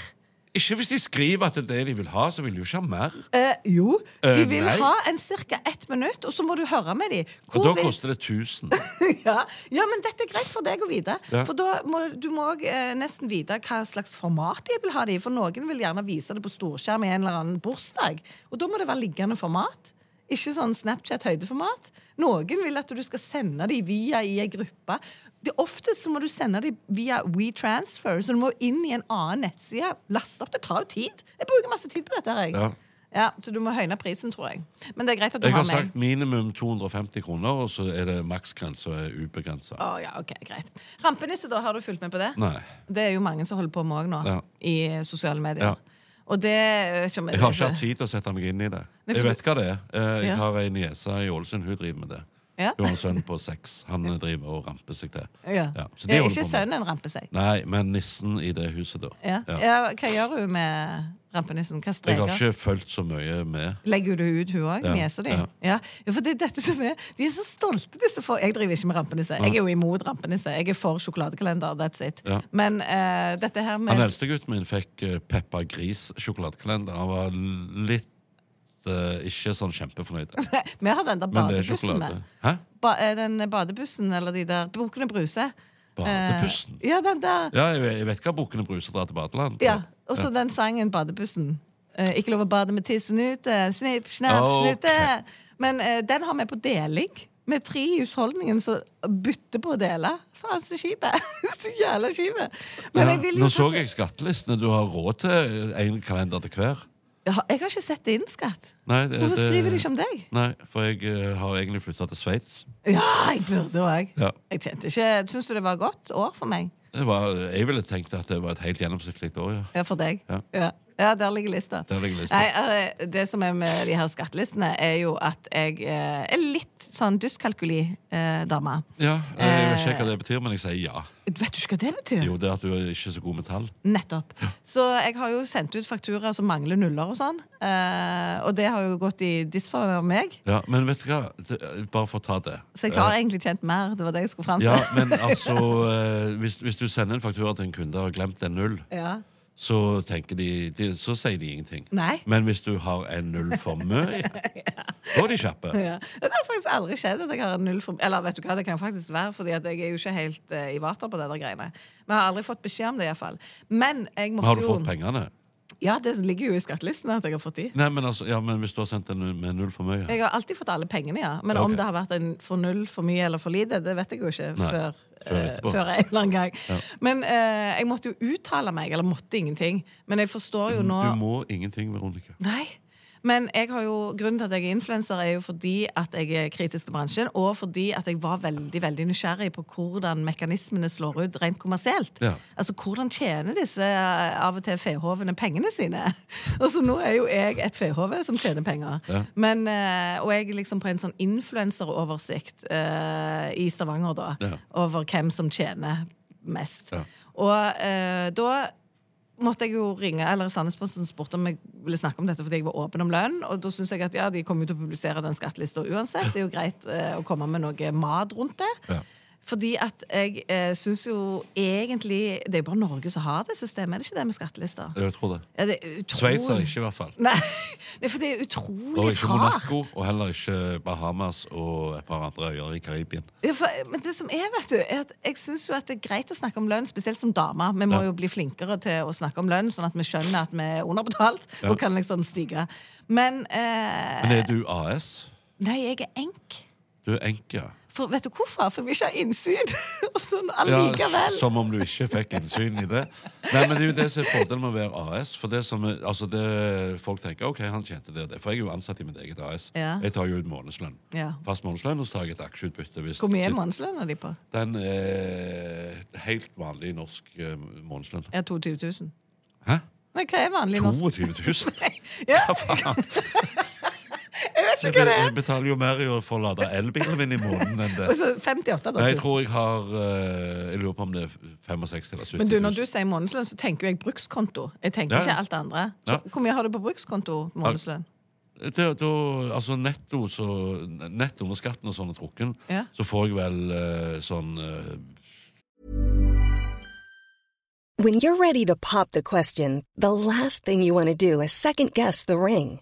[SPEAKER 2] Ikke hvis de skriver at det er det de vil ha, så vil de jo ikke ha mer.
[SPEAKER 1] Eh, jo, de
[SPEAKER 2] Eh,
[SPEAKER 1] vil
[SPEAKER 2] nei.
[SPEAKER 1] ha en ca. ett minutt, og så må du høre med dem.
[SPEAKER 2] Og da koster det 1000.
[SPEAKER 1] ja. ja, men dette er greit for deg å vite.
[SPEAKER 2] Ja.
[SPEAKER 1] For da må du må også, eh, nesten vite hva slags format de vil ha det i. For noen vil gjerne vise det på storskjerm i en eller annen bursdag. Og da må det være liggende format. Ikke sånn Snapchat-høydeformat. Noen vil at du skal sende dem via i ei gruppe. Det- Ofte så må du sende dem via WeTransfer, så du må inn i en annen nettside. Laste opp. Det tar jo tid. Jeg bruker masse tid på dette. her, Jeg.
[SPEAKER 2] Ja.
[SPEAKER 1] Ja, så du må høyne prisen, tror jeg. Men det er greit at du
[SPEAKER 2] Jeg har
[SPEAKER 1] har meg.
[SPEAKER 2] sagt minimum 250 kroner, og så er det maksgrensa ubegrensa.
[SPEAKER 1] Å, ja, ok, greit. Rampenisse, da, har du fulgt med på det?
[SPEAKER 2] Nei.
[SPEAKER 1] Det er jo mange som holder på med òg nå,
[SPEAKER 2] Ja.
[SPEAKER 1] i sosiale medier.
[SPEAKER 2] Ja.
[SPEAKER 1] Og det jeg vet ikke om
[SPEAKER 2] Jeg har ikke hatt tid til å sette meg inn i det.
[SPEAKER 1] for
[SPEAKER 2] Jeg vet hva det er.
[SPEAKER 1] Ja.
[SPEAKER 2] Eh, Jeg har ei niese i Ålesund. Hun driver med det.
[SPEAKER 1] Ja.
[SPEAKER 2] Hun har en sønn på seks. Han driver og ramper seg til.
[SPEAKER 1] Ja.
[SPEAKER 2] Ja, så de
[SPEAKER 1] det er
[SPEAKER 2] holder
[SPEAKER 1] ikke
[SPEAKER 2] på med-
[SPEAKER 1] sønnen en rampesegg.
[SPEAKER 2] Nei, men nissen i det huset, da.
[SPEAKER 1] Ja.
[SPEAKER 2] Ja.
[SPEAKER 1] Ja, hva gjør hun med rampenissen? Hva
[SPEAKER 2] Jeg har
[SPEAKER 1] streker?
[SPEAKER 2] ikke fulgt så mye med.
[SPEAKER 1] Legger du det ut, hun òg?
[SPEAKER 2] Ja,
[SPEAKER 1] Niesa di?
[SPEAKER 2] ja.
[SPEAKER 1] Ja. Ja. for det er dette som er De er så stolte, disse folk. Jeg driver ikke med rampenisse. Jeg er jo imot rampenisse. Jeg er for sjokoladekalender. That's it.
[SPEAKER 2] Ja.
[SPEAKER 1] Men eh, dette her med
[SPEAKER 2] Han eldste gutten min fikk eh, Peppa Gris-sjokoladekalender. Han var litt eh, ikke sånn kjempefornøyd.
[SPEAKER 1] Vi har den der
[SPEAKER 2] Men det er
[SPEAKER 1] badebussen
[SPEAKER 2] sjokolade.
[SPEAKER 1] med.
[SPEAKER 2] Hæ?
[SPEAKER 1] Ba, eh, den badebussen, eller de der Bukkene Bruse.
[SPEAKER 2] Mm. Badepussen?
[SPEAKER 1] Eh, ja, den der.
[SPEAKER 2] Ja, jeg vet- jeg vet hva Bukkene Bruse drar til badeland.
[SPEAKER 1] Ja, Og så den sangen, Badebussen. Eh, ikke lov å bade med tissen ute. Snipp, snapp,
[SPEAKER 2] Ok.
[SPEAKER 1] snutte. Men eh, den har vi på deling. Med tre i husholdningen som bytter på å dele. Faen, så kjipt! så jævla kjipt! Men
[SPEAKER 2] Ja,
[SPEAKER 1] jeg vil jo
[SPEAKER 2] Nå så
[SPEAKER 1] at-
[SPEAKER 2] jeg skattelistene. Du har råd til én kalender til hver.
[SPEAKER 1] Jeg har jeg har ikke sett det inn, skatt.
[SPEAKER 2] Nei, det-
[SPEAKER 1] Hvorfor
[SPEAKER 2] det-
[SPEAKER 1] skriver de ikke om deg?
[SPEAKER 2] Nei, for jeg eh, har egentlig flytta til Sveits.
[SPEAKER 1] Ja, jeg burde òg.
[SPEAKER 2] Ja.
[SPEAKER 1] Jeg kjente ikke Syns du det var et godt år for meg?
[SPEAKER 2] Det var- Jeg ville tenkt at det var et helt gjennomsnittlig år, ja.
[SPEAKER 1] Ja, for deg.
[SPEAKER 2] Ja.
[SPEAKER 1] Ja. Ja. der ligger lista.
[SPEAKER 2] Der ligger lista.
[SPEAKER 1] Nei, eh, det som er med de her skattelistene, er jo at jeg eh, er litt sånn dyskalkuli-dame.
[SPEAKER 2] ja jeg
[SPEAKER 1] Eh.
[SPEAKER 2] vet ikke hva det betyr, men jeg sier ja.
[SPEAKER 1] Vet du ikke hva det betyr?
[SPEAKER 2] Jo, det er at du er ikke så god med tall.
[SPEAKER 1] Nettopp. Så jeg har jo sendt ut fakturaer som mangler nuller og sånn. Eh, og det har jo gått i disfavør meg,
[SPEAKER 2] Ja, men vet du hva? Det, bare for å ta det.
[SPEAKER 1] så jeg har egentlig tjent mer. Det var det jeg skulle fram til.
[SPEAKER 2] Ja, men altså eh, hvis, hvis du sender en faktura til en kunde og har glemt en null,
[SPEAKER 1] Ja.
[SPEAKER 2] så, tenker de, de, så sier de ingenting.
[SPEAKER 1] Nei.
[SPEAKER 2] Men hvis du har en null for mye, da er de kjappe.
[SPEAKER 1] Ja. Det har faktisk aldri skjedd at jeg har en null for Eller vet du hva, det kan faktisk være, fordi at jeg er jo ikke helt eh, i vater på det der greiene. Vi har aldri fått beskjed om det, iallfall. Men jeg
[SPEAKER 2] Men
[SPEAKER 1] måtte
[SPEAKER 2] Har du
[SPEAKER 1] jo
[SPEAKER 2] fått pengene?
[SPEAKER 1] Ja, det ligger jo i skattelistene at jeg har fått de.
[SPEAKER 2] Nei, men altså, ja, men Hvis du har sendt en med null for mye
[SPEAKER 1] Jeg har alltid fått alle pengene, ja. Men
[SPEAKER 2] Ok.
[SPEAKER 1] om det har vært en for null, for mye eller for lite, det vet jeg jo ikke
[SPEAKER 2] Nei.
[SPEAKER 1] før,
[SPEAKER 2] Før
[SPEAKER 1] eh,
[SPEAKER 2] etterpå.
[SPEAKER 1] før en eller annen gang. Men eh, jeg måtte jo uttale meg, eller måtte ingenting. Men jeg forstår jo nå
[SPEAKER 2] Du må ingenting, Veronica.
[SPEAKER 1] Nei. Men jeg har jo, grunnen til at jeg er influenser, er jo fordi at jeg er kritisk til bransjen, og fordi at jeg var veldig veldig nysgjerrig på hvordan mekanismene slår ut rent kommersielt.
[SPEAKER 2] Ja.
[SPEAKER 1] Altså, Hvordan tjener disse eh, av og til fehovene pengene sine? Og så nå er jo jeg et fehove som tjener penger. Men, eh, og jeg er liksom på en sånn influenseroversikt eh, i Stavanger, da,
[SPEAKER 2] Ja.
[SPEAKER 1] over hvem som tjener mest.
[SPEAKER 2] Ja.
[SPEAKER 1] Og eh, da måtte jeg jo ringe eller Sandnesposten spurte om jeg ville snakke om dette fordi jeg var åpen om lønn. Og da syns jeg at ja, de kommer jo til å publisere den skattelista uansett. Det er jo greit eh, å komme med noe mat rundt det.
[SPEAKER 2] Ja.
[SPEAKER 1] Fordi at jeg eh, syns jo egentlig Det er jo bare Norge som har det systemet, er det ikke det med skattelister?
[SPEAKER 2] Jeg tror det.
[SPEAKER 1] Ja, det er utrolig-
[SPEAKER 2] Sveits har ikke, i hvert fall.
[SPEAKER 1] Nei, det er for det er
[SPEAKER 2] Og
[SPEAKER 1] utrolig
[SPEAKER 2] ikke
[SPEAKER 1] rart.
[SPEAKER 2] Monaco, og heller ikke Bahamas og et par andre øyer i Karibien.
[SPEAKER 1] Ja, for, men det som er, vet du, er at jeg syns jo at det er greit å snakke om lønn, spesielt som dame. Vi må
[SPEAKER 2] Ja.
[SPEAKER 1] jo bli flinkere til å snakke om lønn, sånn at vi skjønner at vi er underbetalt og kan liksom stige. Men eh,
[SPEAKER 2] Men er du AS?
[SPEAKER 1] Nei, jeg er enk.
[SPEAKER 2] Du er enke. ja.
[SPEAKER 1] For, vet du hvorfor? For jeg vil ikke ha innsyn. og sånn
[SPEAKER 2] Ja,
[SPEAKER 1] allikevel.
[SPEAKER 2] s- som om du ikke fikk innsyn i det. Nei, men Det er jo det som er fordelen med å være AS. For det som er, altså det, Folk tenker ok, han tjente det og det. For jeg er jo ansatt i mitt eget AS.
[SPEAKER 1] Ja.
[SPEAKER 2] Jeg tar jo ut månedslønn.
[SPEAKER 1] Ja.
[SPEAKER 2] Fast månedslønn, og så tar jeg et aksjeutbytte. Hvis,
[SPEAKER 1] Hvor mye er månedslønna di på?
[SPEAKER 2] Den er helt vanlig norsk eh, månedslønn.
[SPEAKER 1] Ja, 22 000.
[SPEAKER 2] Hæ?
[SPEAKER 1] Nei, hva er vanlig norsk?
[SPEAKER 2] 22 000?
[SPEAKER 1] Ja,
[SPEAKER 2] Jeg, be- jeg betaler jo mer i å få lada elbilen min i måneden enn det.
[SPEAKER 1] altså 58
[SPEAKER 2] Nei, jeg
[SPEAKER 1] 000.
[SPEAKER 2] tror jeg har eh, Jeg lurer på om det er 65 eller 70
[SPEAKER 1] Men du,
[SPEAKER 2] 000.
[SPEAKER 1] når du sier månedslønn, så tenker jo jeg brukskonto. Jeg tenker
[SPEAKER 2] Ja, ja.
[SPEAKER 1] ikke alt det andre. Så,
[SPEAKER 2] Ja.
[SPEAKER 1] Hvor mye har du på brukskonto? månedslønn?
[SPEAKER 2] Da, da, altså netto, så, netto når skatten og sånn er trukken,
[SPEAKER 1] Ja.
[SPEAKER 2] så får jeg vel eh, sånn eh,
[SPEAKER 3] When you're ready to pop the question, the last thing you want to do is second guess the ring.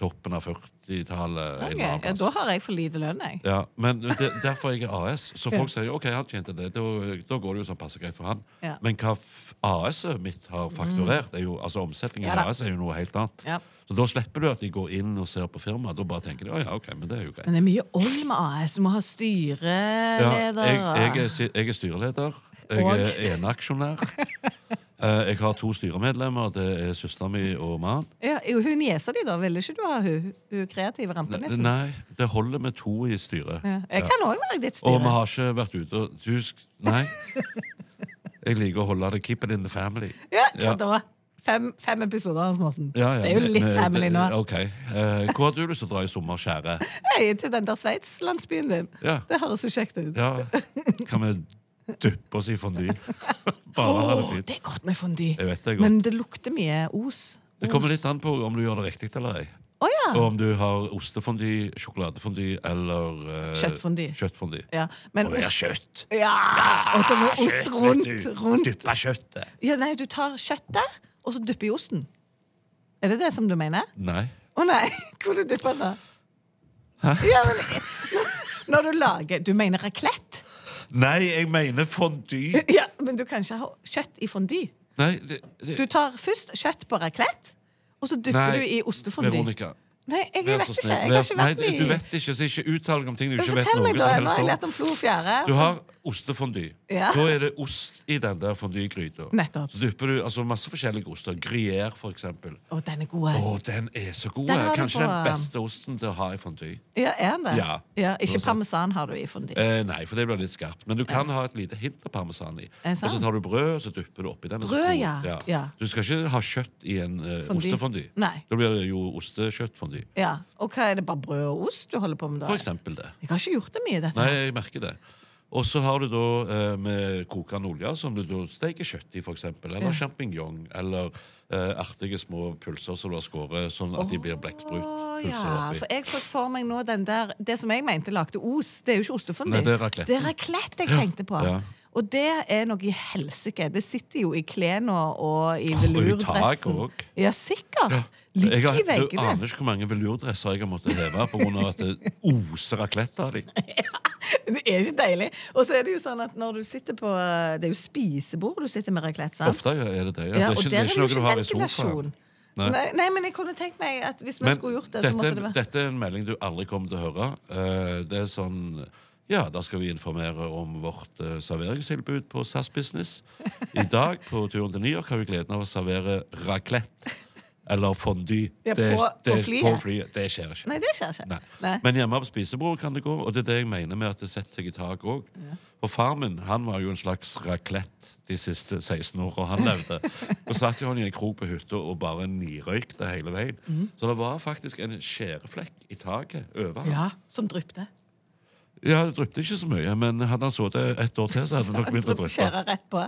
[SPEAKER 2] toppen av 40-tallet. en
[SPEAKER 1] Ok,
[SPEAKER 2] eller annen
[SPEAKER 1] Ja,
[SPEAKER 2] plass.
[SPEAKER 1] da har jeg for lite lønn, jeg.
[SPEAKER 2] Ja, men det, derfor jeg er AS. Så folk sier ok, han tjente det, da, da går det jo sånn passe greit for han.
[SPEAKER 1] Ja. Mm.
[SPEAKER 2] Men hva f- AS-et mitt har fakturert, er jo, altså omsetningen
[SPEAKER 1] Ja
[SPEAKER 2] i
[SPEAKER 1] da.
[SPEAKER 2] AS er jo noe helt annet.
[SPEAKER 1] Ja.
[SPEAKER 2] Så da slipper du at de går inn og ser på firmaet. Da bare tenker de å ja, ok, men det er jo greit.
[SPEAKER 1] Men det er mye ånd med AS. Du må ha
[SPEAKER 2] Ja,
[SPEAKER 1] styreleder.
[SPEAKER 2] jeg, jeg, er, si- jeg er styreleder. Jeg
[SPEAKER 1] Og?
[SPEAKER 2] er eneaksjonær. Eh, Jeg har to styremedlemmer. Det er søstera mi og mannen.
[SPEAKER 1] Ja, jo, hun niesa di, da. Ville ikke du ha hun, hun kreative rampenissen?
[SPEAKER 2] Nei, det holder med to i styret.
[SPEAKER 1] Ja. Jeg kan òg være i ditt
[SPEAKER 2] Og vi
[SPEAKER 1] styre.
[SPEAKER 2] har ikke vært ute og du sk- Nei. Jeg liker å holde det keep it in the family.
[SPEAKER 1] Ja, hva da? Fem, fem episoder av Hans Morten.
[SPEAKER 2] Ja, ja,
[SPEAKER 1] det er jo
[SPEAKER 2] men-
[SPEAKER 1] litt
[SPEAKER 2] men-
[SPEAKER 1] family nå.
[SPEAKER 2] det- Ok. Eh, Hvor har du lyst til å dra i sommer, kjære?
[SPEAKER 1] Hei, til den der Sveits-landsbyen din.
[SPEAKER 2] Ja.
[SPEAKER 1] Det høres jo kjekt ut.
[SPEAKER 2] Ja, kan vi duppe oss i fondy? Bare ha det
[SPEAKER 1] Åh,
[SPEAKER 2] fint.
[SPEAKER 1] det er godt med fondy.
[SPEAKER 2] Jeg vet det er godt.
[SPEAKER 1] Men det lukter mye os.
[SPEAKER 2] Det kommer litt an på om du gjør det riktig eller ei.
[SPEAKER 1] Å ja.
[SPEAKER 2] Og om du har ostefondy, sjokoladefondy eller eh,
[SPEAKER 1] Kjøttfondy.
[SPEAKER 2] kjøttfondy.
[SPEAKER 1] ja. Men
[SPEAKER 2] Og det er
[SPEAKER 1] ost
[SPEAKER 2] kjøtt.
[SPEAKER 1] ja. Og så med
[SPEAKER 2] Kjøtt,
[SPEAKER 1] ost rundt.
[SPEAKER 2] vet du.
[SPEAKER 1] rundt.
[SPEAKER 2] Dyppe kjøttet.
[SPEAKER 1] Ja, nei, du tar kjøttet, og så dypper i osten. Er det det som du mener?
[SPEAKER 2] Nei.
[SPEAKER 1] Å nei, hvor du dypper den da? Ja, men, når du lager Du mener raclette?
[SPEAKER 2] Nei, jeg mener fondy.
[SPEAKER 1] Ja, men du kan ikke ha kjøtt i fondy.
[SPEAKER 2] Nei, det, det,
[SPEAKER 1] Du tar først kjøtt på raclette, og så dypper
[SPEAKER 2] Nei,
[SPEAKER 1] du i ostefondy.
[SPEAKER 2] Veronica.
[SPEAKER 1] Nei, jeg
[SPEAKER 2] Vær
[SPEAKER 1] vet
[SPEAKER 2] så
[SPEAKER 1] ikke.
[SPEAKER 2] snill.
[SPEAKER 1] Jeg
[SPEAKER 2] Vær
[SPEAKER 1] har
[SPEAKER 2] så-
[SPEAKER 1] ikke
[SPEAKER 2] Nei,
[SPEAKER 1] vært med
[SPEAKER 2] du
[SPEAKER 1] i
[SPEAKER 2] vet ikke, så ikke uttal deg om ting du
[SPEAKER 1] Men
[SPEAKER 2] ikke vet
[SPEAKER 1] Fortell
[SPEAKER 2] noe
[SPEAKER 1] meg, da. Nå
[SPEAKER 2] som
[SPEAKER 1] har jeg
[SPEAKER 2] helst
[SPEAKER 1] lært
[SPEAKER 2] om.
[SPEAKER 1] om flo og fjære.
[SPEAKER 2] Du har ostefondue.
[SPEAKER 1] Ja.
[SPEAKER 2] Da er det ost i den der fondygryta.
[SPEAKER 1] Nettopp.
[SPEAKER 2] Så dypper du altså, masse forskjellige oster. Gruyère, for eksempel.
[SPEAKER 1] Å, den er god.
[SPEAKER 2] Å, den er så god!
[SPEAKER 1] Den har du
[SPEAKER 2] Kanskje
[SPEAKER 1] på-
[SPEAKER 2] den beste osten til å ha i fondy.
[SPEAKER 1] Ja, er den det?
[SPEAKER 2] Ja.
[SPEAKER 1] Ikke
[SPEAKER 2] Sånn.
[SPEAKER 1] parmesan har du i fondi.
[SPEAKER 2] Eh, nei, for det blir litt skarpt. Men du kan ha et lite hint av parmesan i.
[SPEAKER 1] Er det
[SPEAKER 2] Og
[SPEAKER 1] sant?
[SPEAKER 2] så tar du brød, og så dypper du oppi den. og så
[SPEAKER 1] Brød,
[SPEAKER 2] koker-
[SPEAKER 1] ja. Ja.
[SPEAKER 2] Du skal ikke ha kjøtt i en eh,
[SPEAKER 1] Fondy.
[SPEAKER 2] ostefondy.
[SPEAKER 1] Nei.
[SPEAKER 2] Da blir det jo ostekjøttfondy.
[SPEAKER 1] Ja. Og hva er det, bare brød og ost du holder på med da?
[SPEAKER 2] For eksempel det.
[SPEAKER 1] Jeg har ikke gjort det mye, dette.
[SPEAKER 2] Nei, jeg merker det. Og så har du da eh, med kokende olje, som du da steker kjøtt i, for eksempel. Eller champignon. Eller eh, artige små pølser som du har skåret, sånn at de blir blekksprut.
[SPEAKER 1] Å,
[SPEAKER 2] pølser
[SPEAKER 1] ja,
[SPEAKER 2] oppi.
[SPEAKER 1] for jeg så for meg nå den der Det som jeg mente lagde os, det er jo ikke ostefondy.
[SPEAKER 2] Nei, det er raclette.
[SPEAKER 1] Det er raclette jeg tenkte på.
[SPEAKER 2] Ja.
[SPEAKER 1] Og det er noe i helsike. Det sitter jo i klærne og i
[SPEAKER 2] Åh, og i tak
[SPEAKER 1] velurdressen.
[SPEAKER 2] også.
[SPEAKER 1] ja, sikkert.
[SPEAKER 2] Jeg
[SPEAKER 1] Ligger
[SPEAKER 2] har,
[SPEAKER 1] i
[SPEAKER 2] du aner
[SPEAKER 1] veggene.
[SPEAKER 2] ikke hvor mange velurdresser jeg har måttet heve pga. at det oser raclette av dem.
[SPEAKER 1] Det er ikke deilig. Og så er det jo sånn at når du sitter på Det er jo spisebord du sitter med raclette, sant?
[SPEAKER 2] Ofte er det det. Ja.
[SPEAKER 1] Ja,
[SPEAKER 2] det er
[SPEAKER 1] og der
[SPEAKER 2] ikke, det
[SPEAKER 1] er
[SPEAKER 2] er
[SPEAKER 1] det
[SPEAKER 2] ikke
[SPEAKER 1] jo
[SPEAKER 2] noe du har i
[SPEAKER 1] ikke
[SPEAKER 2] sofaen.
[SPEAKER 1] ventilasjon.
[SPEAKER 2] Nei.
[SPEAKER 1] Nei, nei, men jeg kunne tenkt meg at hvis vi
[SPEAKER 2] Men
[SPEAKER 1] skulle gjort det, så
[SPEAKER 2] dette,
[SPEAKER 1] måtte det vært
[SPEAKER 2] dette er en melding du aldri kommer til å høre. Eh, det er sånn Ja, da skal vi informere om vårt eh, serveringstilbud på SAS Business. I dag på turen til New York har vi gleden av å servere raclette. Eller fondy.
[SPEAKER 1] Ja, på-
[SPEAKER 2] det,
[SPEAKER 1] på flyet.
[SPEAKER 2] på flyet. Det skjer ikke.
[SPEAKER 1] Nei, det skjer ikke.
[SPEAKER 2] Nei.
[SPEAKER 1] Nei.
[SPEAKER 2] Men hjemme på spisebordet kan det gå, og det er det jeg mener med at det setter seg i tak òg. Og far min han var jo en slags raclette de siste 16 åra han levde. Og satt jo han i en krok på hytta og bare nirøykte hele veien.
[SPEAKER 1] Mhm.
[SPEAKER 2] Så det var faktisk en skjæreflekk i taket over ham. Ja.
[SPEAKER 1] Ja, som dryppte.
[SPEAKER 2] det dryppet ikke så mye, men hadde han sittet et år til, så hadde det nok begynt å dryppe.
[SPEAKER 1] Kjører rett på.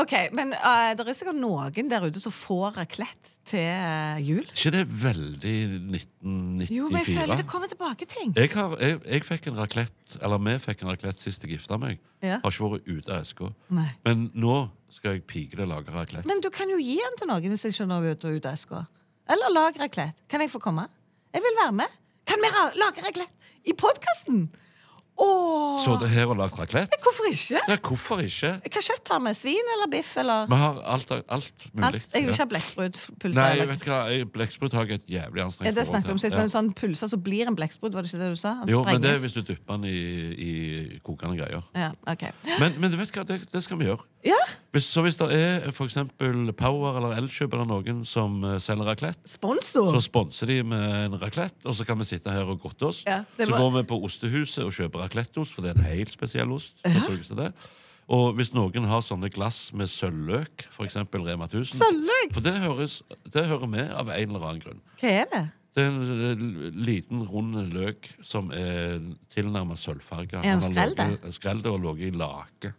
[SPEAKER 1] OK, men eh, det er sikkert noen der ute som får raclette til eh, jul.
[SPEAKER 2] ikke det veldig 1994?
[SPEAKER 1] Jo, men jeg føler det kommer tilbake ting.
[SPEAKER 2] Jeg, har, jeg, jeg fikk en raclette, eller vi fikk en raclette sist jeg gifta meg.
[SPEAKER 1] Ja.
[SPEAKER 2] Har ikke vært ute av eska.
[SPEAKER 1] Nei.
[SPEAKER 2] Men nå skal jeg pike det og lage raclette.
[SPEAKER 1] Men du kan jo gi den til noen hvis jeg skjønner ut og ut av eska. Eller lag raclette. Kan jeg få komme? Jeg vil være med. Kan vi ra- lage raclette i podkasten? Åh!
[SPEAKER 2] Så det her og lagd raclette?
[SPEAKER 1] Hvorfor ikke?
[SPEAKER 2] Ja, hvorfor ikke?
[SPEAKER 1] Hva kjøtt har vi? Svin eller biff eller
[SPEAKER 2] Vi har alt, alt mulig.
[SPEAKER 1] alt? Jeg vil ikke ha
[SPEAKER 2] Nei,
[SPEAKER 1] blekksprutpølse.
[SPEAKER 2] jeg vet hva, jeg- blekksprut har jeg et jævlig anstrengt
[SPEAKER 1] Det snakket vi om sist,
[SPEAKER 2] Ja.
[SPEAKER 1] men sånn pølser som blir en blekksprut, var det ikke det du sa? Han
[SPEAKER 2] Jo, men det
[SPEAKER 1] sprenges.
[SPEAKER 2] er hvis du dypper den i, i kokende greier.
[SPEAKER 1] Ja, ok.
[SPEAKER 2] Men, men du vet hva, det, det skal vi gjøre.
[SPEAKER 1] Ja,
[SPEAKER 2] Hvis, så hvis det er for eksempel Power eller Elkjøp eller noen som eh, selger raclette Så
[SPEAKER 1] sponsor!
[SPEAKER 2] sponser de med en raclette, og så kan vi sitte her og godte oss.
[SPEAKER 1] Ja, det
[SPEAKER 2] så
[SPEAKER 1] må-
[SPEAKER 2] går vi på Ostehuset og kjøper racletteost, for det er en helt spesiell ost. som brukes til det. Og hvis noen har sånne glass med sølvløk, f.eks. Rema 1000
[SPEAKER 1] Sølvløk?
[SPEAKER 2] For det, høres, det hører med av en eller annen grunn.
[SPEAKER 1] Hva er det?
[SPEAKER 2] Det er en l- liten, rund løk som er tilnærmet sølvfarga.
[SPEAKER 1] Er den skrell, det?
[SPEAKER 2] Skrell det og ligget i lake.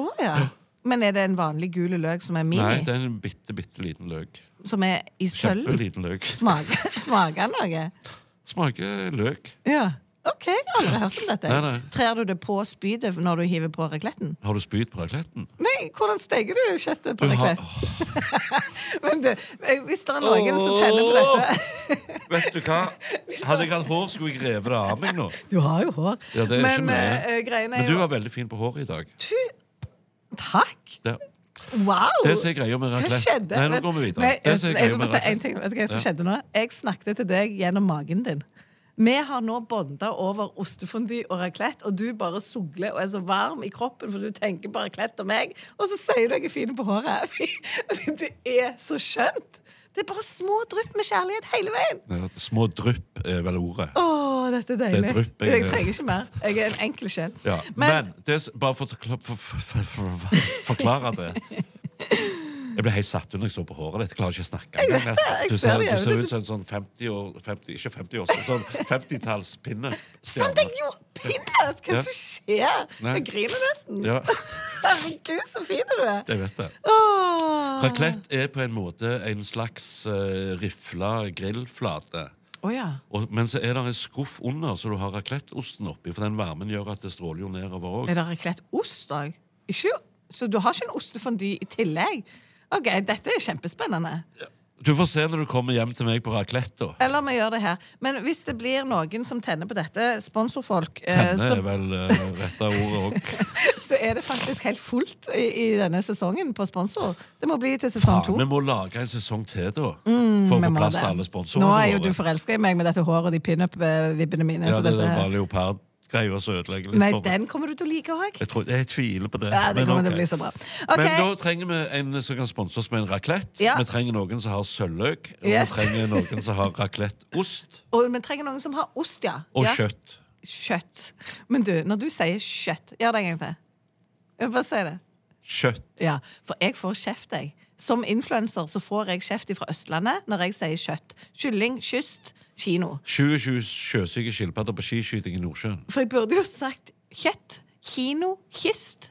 [SPEAKER 1] Å ja. Men er det en vanlig gul løk som er mini?
[SPEAKER 2] Nei, det er en bitte, bitte liten løk.
[SPEAKER 1] Som er i sølv?
[SPEAKER 2] Kjempeliten løk.
[SPEAKER 1] Smaker smaker den noe?
[SPEAKER 2] Smaker løk.
[SPEAKER 1] Ja. OK, jeg har aldri hørt om dette.
[SPEAKER 2] Nei, nei.
[SPEAKER 1] Trer du det på spydet når du hiver på racletten?
[SPEAKER 2] Har du spyd på racletten?
[SPEAKER 1] Nei, hvordan steker du kjøttet på
[SPEAKER 2] Du har-
[SPEAKER 1] raclette? Men du, eh, hvis det er noen som tenner på dette
[SPEAKER 2] Vet du hva? Hadde jeg hatt hår, skulle jeg revet det av meg nå.
[SPEAKER 1] Du har jo hår.
[SPEAKER 2] Ja, det er
[SPEAKER 1] Men
[SPEAKER 2] ikke mye.
[SPEAKER 1] eh, greiene
[SPEAKER 2] Men
[SPEAKER 1] er
[SPEAKER 2] du
[SPEAKER 1] jo
[SPEAKER 2] var veldig fin på håret i dag.
[SPEAKER 1] Takk!
[SPEAKER 2] Det,
[SPEAKER 1] Wow!
[SPEAKER 2] det som er greia med
[SPEAKER 1] Hva
[SPEAKER 2] raclette
[SPEAKER 1] skjedde?
[SPEAKER 2] Nei, nå
[SPEAKER 1] Vet-
[SPEAKER 2] går vi videre.
[SPEAKER 1] Nei,
[SPEAKER 2] Det
[SPEAKER 1] jeg,
[SPEAKER 2] som
[SPEAKER 1] jeg
[SPEAKER 2] er greia
[SPEAKER 1] skal
[SPEAKER 2] med
[SPEAKER 1] bare si
[SPEAKER 2] raclette-
[SPEAKER 1] en ting. Vet du hva som skjedde nå? Jeg snakket til deg gjennom magen din. Vi har nå bonda over ostefondy og raclette, og du bare sugler og er så varm i kroppen, for du tenker på raclette og meg, og så sier du noe fint på håret. Det er så skjønt! Det er bare små drypp med kjærlighet hele veien.
[SPEAKER 2] Nei, Små drypp er vel ordet.
[SPEAKER 1] Å, dette er deilig.
[SPEAKER 2] Det er drypp, jeg-
[SPEAKER 1] jeg, trenger ikke mer. Jeg er en enkel sjel.
[SPEAKER 2] Ja. Men, det, s- bare for å forkla- for- for- for- for- forklare det Jeg ble helt satt ut når jeg så på håret ditt. Jeg klarer ikke å snakke. engang,
[SPEAKER 1] vet det,
[SPEAKER 2] nesten.
[SPEAKER 1] jeg
[SPEAKER 2] Du
[SPEAKER 1] ser
[SPEAKER 2] ser,
[SPEAKER 1] det,
[SPEAKER 2] du
[SPEAKER 1] jeg
[SPEAKER 2] ser
[SPEAKER 1] vet
[SPEAKER 2] ut som en sånn 50 år, 50, ikke 50 år, sånn 50-tallspinne.
[SPEAKER 1] Sant, jeg gjorde pinup! Hva
[SPEAKER 2] Ja.
[SPEAKER 1] som skjer?
[SPEAKER 2] Nei.
[SPEAKER 1] Jeg griner nesten.
[SPEAKER 2] Ja,
[SPEAKER 1] Herregud, så fin du er!
[SPEAKER 2] jeg vet det.
[SPEAKER 1] Åh.
[SPEAKER 2] Raclette er på en måte en slags eh, rifla grillflate.
[SPEAKER 1] Å ja.
[SPEAKER 2] Og, men så er det en skuff under, så du har racletteosten oppi. For den varmen gjør at det stråler jo nedover òg.
[SPEAKER 1] Er det raclette ost òg? Så du har ikke en ostefondy i tillegg? Ok, Dette er kjempespennende.
[SPEAKER 2] Du får se når du kommer hjem til meg på raclette. da.
[SPEAKER 1] Eller vi gjør det her. Men hvis det blir noen som tenner på dette, sponsorfolk, eh,
[SPEAKER 2] Tenne
[SPEAKER 1] så,
[SPEAKER 2] er vel uh, rette ordet òg.
[SPEAKER 1] så er det faktisk helt fullt i, i denne sesongen på sponsor. Det må bli til sesong to. Mm,
[SPEAKER 2] Vi må lage en sesong til, da. For å
[SPEAKER 1] Vi
[SPEAKER 2] få
[SPEAKER 1] må
[SPEAKER 2] plass
[SPEAKER 1] det.
[SPEAKER 2] til alle sponsorene
[SPEAKER 1] Nå er jo du
[SPEAKER 2] våre.
[SPEAKER 1] forelska i meg med dette håret og de pinup-vibbene mine.
[SPEAKER 2] Ja,
[SPEAKER 1] så
[SPEAKER 2] det er
[SPEAKER 1] dette-
[SPEAKER 2] den bare leopardgreia greia som ødelegger litt
[SPEAKER 1] Nei,
[SPEAKER 2] for meg.
[SPEAKER 1] den kommer du til å like òg.
[SPEAKER 2] Jeg, tror, jeg tviler på det.
[SPEAKER 1] Ja, det
[SPEAKER 2] men
[SPEAKER 1] kommer til
[SPEAKER 2] ok.
[SPEAKER 1] å bli så bra.
[SPEAKER 2] Men da
[SPEAKER 1] Ok,
[SPEAKER 2] trenger vi en som kan sponse oss med en raclette.
[SPEAKER 1] Ja.
[SPEAKER 2] Vi trenger noen som har sølvløk, og
[SPEAKER 1] Yes.
[SPEAKER 2] vi trenger noen som har racletteost
[SPEAKER 1] og Vi trenger noen som har ost, ja.
[SPEAKER 2] og
[SPEAKER 1] ja.
[SPEAKER 2] kjøtt.
[SPEAKER 1] Kjøtt. Men du, når du sier kjøtt Gjør det en gang til. Jeg Bare si det.
[SPEAKER 2] Kjøtt.
[SPEAKER 1] Ja, For jeg får kjeft, jeg. Som influenser så får jeg kjeft fra Østlandet når jeg sier kjøtt. Kylling, kyst, kino.
[SPEAKER 2] 27 sjøsyke skilpadder på skiskyting i Nordsjøen.
[SPEAKER 1] For jeg burde jo sagt kjøtt, kino, kyst.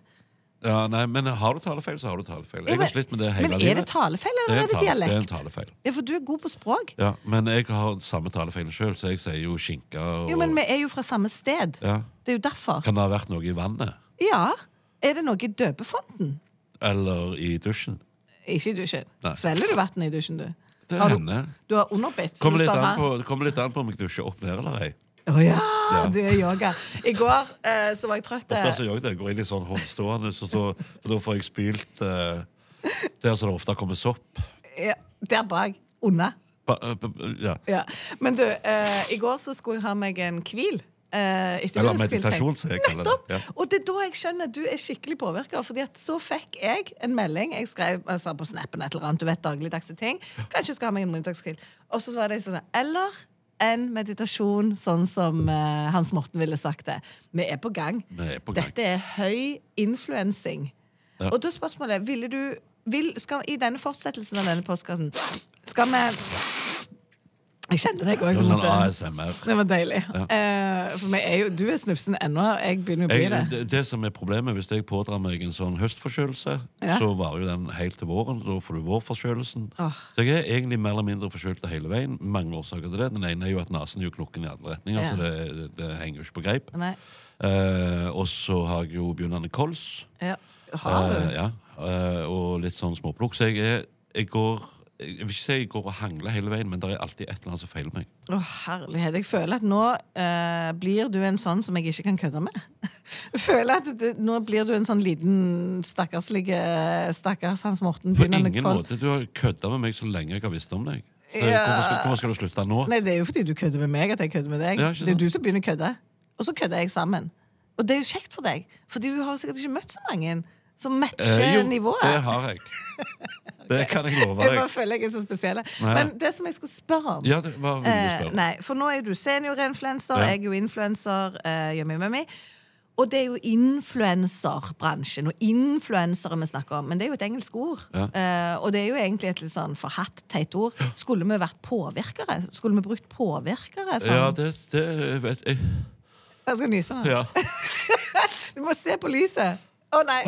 [SPEAKER 2] Ja, nei, men har du talefeil, så har du talefeil.
[SPEAKER 1] Ja,
[SPEAKER 2] Jeg
[SPEAKER 1] men-
[SPEAKER 2] har slitt med det hele
[SPEAKER 1] men er
[SPEAKER 2] livet.
[SPEAKER 1] det talefeil, eller
[SPEAKER 2] en
[SPEAKER 1] er det
[SPEAKER 2] tale- Det er en
[SPEAKER 1] dialekt?
[SPEAKER 2] talefeil.
[SPEAKER 1] Ja, For du er god på språk.
[SPEAKER 2] Ja, men jeg har samme talefeil sjøl, så jeg sier jo skinke og
[SPEAKER 1] Jo, men vi er jo fra samme sted.
[SPEAKER 2] ja.
[SPEAKER 1] Det er jo derfor.
[SPEAKER 2] Kan det ha vært noe i vannet?
[SPEAKER 1] Ja. Er det noe i døpefonten?
[SPEAKER 2] Eller i dusjen?
[SPEAKER 1] Ikke i dusjen.
[SPEAKER 2] Nei.
[SPEAKER 1] Svelger du vann i dusjen, du?
[SPEAKER 2] Det
[SPEAKER 1] Har du-
[SPEAKER 2] hender.
[SPEAKER 1] Du har underbitt. så
[SPEAKER 2] Kommer
[SPEAKER 1] du
[SPEAKER 2] litt,
[SPEAKER 1] står
[SPEAKER 2] an
[SPEAKER 1] her.
[SPEAKER 2] på- det kommer litt an på om jeg dusjer opp ned eller ei.
[SPEAKER 1] Å ja, det er yoga. I går eh, så var jeg trøtt.
[SPEAKER 2] Ofte
[SPEAKER 1] eh,
[SPEAKER 2] så gjør jeg det. Jeg går inn i sånn håndstående, så da, for da får jeg spylt eh, der som det ofte kommer sopp.
[SPEAKER 1] ja, der bak. Unna.
[SPEAKER 2] Ba, eh, ba- ja.
[SPEAKER 1] Ja. Men du, eh, i går så skulle jeg ha meg en hvil. Eh, etter
[SPEAKER 2] Eller
[SPEAKER 1] middagshvil, tenkte
[SPEAKER 2] meditasjon, som jeg kaller det.
[SPEAKER 1] Nettopp.
[SPEAKER 2] Ja.
[SPEAKER 1] Og det er da jeg skjønner at du er skikkelig påvirka. Fordi at så fikk jeg en melding. Jeg skrev altså, på snappen et eller annet, du vet dagligdagse ting. Kanskje jeg skal ha meg en middagskvil. Og så var det sånn Eller en meditasjon, sånn som eh, Hans Morten ville sagt det. Vi er på gang.
[SPEAKER 2] Vi er på gang.
[SPEAKER 1] Dette er høy influensing. Og da er spørsmålet ville du, vil, skal, I denne fortsettelsen av denne postkassen skal vi Jeg kjente deg òg.
[SPEAKER 2] Det er Sånn ASMR.
[SPEAKER 1] Det var deilig. Eh, for meg er jo, du er snufsen ennå. Jeg begynner å bli
[SPEAKER 2] Jeg,
[SPEAKER 1] det.
[SPEAKER 2] det, det som er problemet, Hvis jeg pådrar meg en sånn høstforkjølelse,
[SPEAKER 1] Ja.
[SPEAKER 2] så varer jo den helt til våren. Da får du vårforkjølelsen. Så jeg er egentlig mer eller mindre forkjølt hele veien. Mange årsaker til det. Den ene er jo at nesen er jo knokken i alle retninger,
[SPEAKER 1] Ja.
[SPEAKER 2] så det, det, det henger jo ikke på greip.
[SPEAKER 1] Nei.
[SPEAKER 2] Eh, og så har jeg jo begynnende kols.
[SPEAKER 1] Ja. Har du?
[SPEAKER 2] Eh, ja. Eh, og litt sånn småplukk. Så jeg, er, jeg går Jeg vil ikke si jeg går og hangler hele veien, men det er alltid et eller annet som feiler meg.
[SPEAKER 1] Å, herlighet. Jeg føler at nå eh, blir du en sånn som jeg ikke kan kødde med. Jeg føler at det, nå blir du en sånn liten stakkarslig eh, Stakkars Hans Morten.
[SPEAKER 2] På
[SPEAKER 1] begynnende
[SPEAKER 2] ingen
[SPEAKER 1] koll.
[SPEAKER 2] måte. Du har kødda med meg så lenge jeg har visst om deg. Så
[SPEAKER 1] Ja.
[SPEAKER 2] Hvorfor, skal, hvorfor skal du slutte nå?
[SPEAKER 1] Nei, det er jo fordi du kødder med meg at jeg kødder med deg.
[SPEAKER 2] Ja,
[SPEAKER 1] det
[SPEAKER 2] ikke
[SPEAKER 1] er jo
[SPEAKER 2] sant?
[SPEAKER 1] du som begynner å kødde. Og så kødder jeg sammen. Og det er jo kjekt for deg, Fordi du har jo sikkert ikke møtt så mange som matcher
[SPEAKER 2] Eh, jo,
[SPEAKER 1] nivået.
[SPEAKER 2] det har jeg. Det kan jeg love
[SPEAKER 1] Jeg bare
[SPEAKER 2] deg.
[SPEAKER 1] føler jeg er så spesiell.
[SPEAKER 2] Nei.
[SPEAKER 1] Men det som jeg skulle spørre om
[SPEAKER 2] Ja, det var veldig
[SPEAKER 1] eh,
[SPEAKER 2] spennende.
[SPEAKER 1] Nei, For nå er du seniorinfluenser,
[SPEAKER 2] Ja.
[SPEAKER 1] jeg er jo influenser. Eh, yummy, yummy. og det er jo influenserbransjen og influensere vi snakker om. Men det er jo et engelsk ord. Eh, og det er jo egentlig et litt sånn forhatt, teit ord. Skulle vi vært påvirkere? Skulle vi brukt påvirkere? Sånn?
[SPEAKER 2] Ja, det, det vet jeg.
[SPEAKER 1] Jeg skal nyse nå.
[SPEAKER 2] Ja.
[SPEAKER 1] Du må se på lyset. Å nei.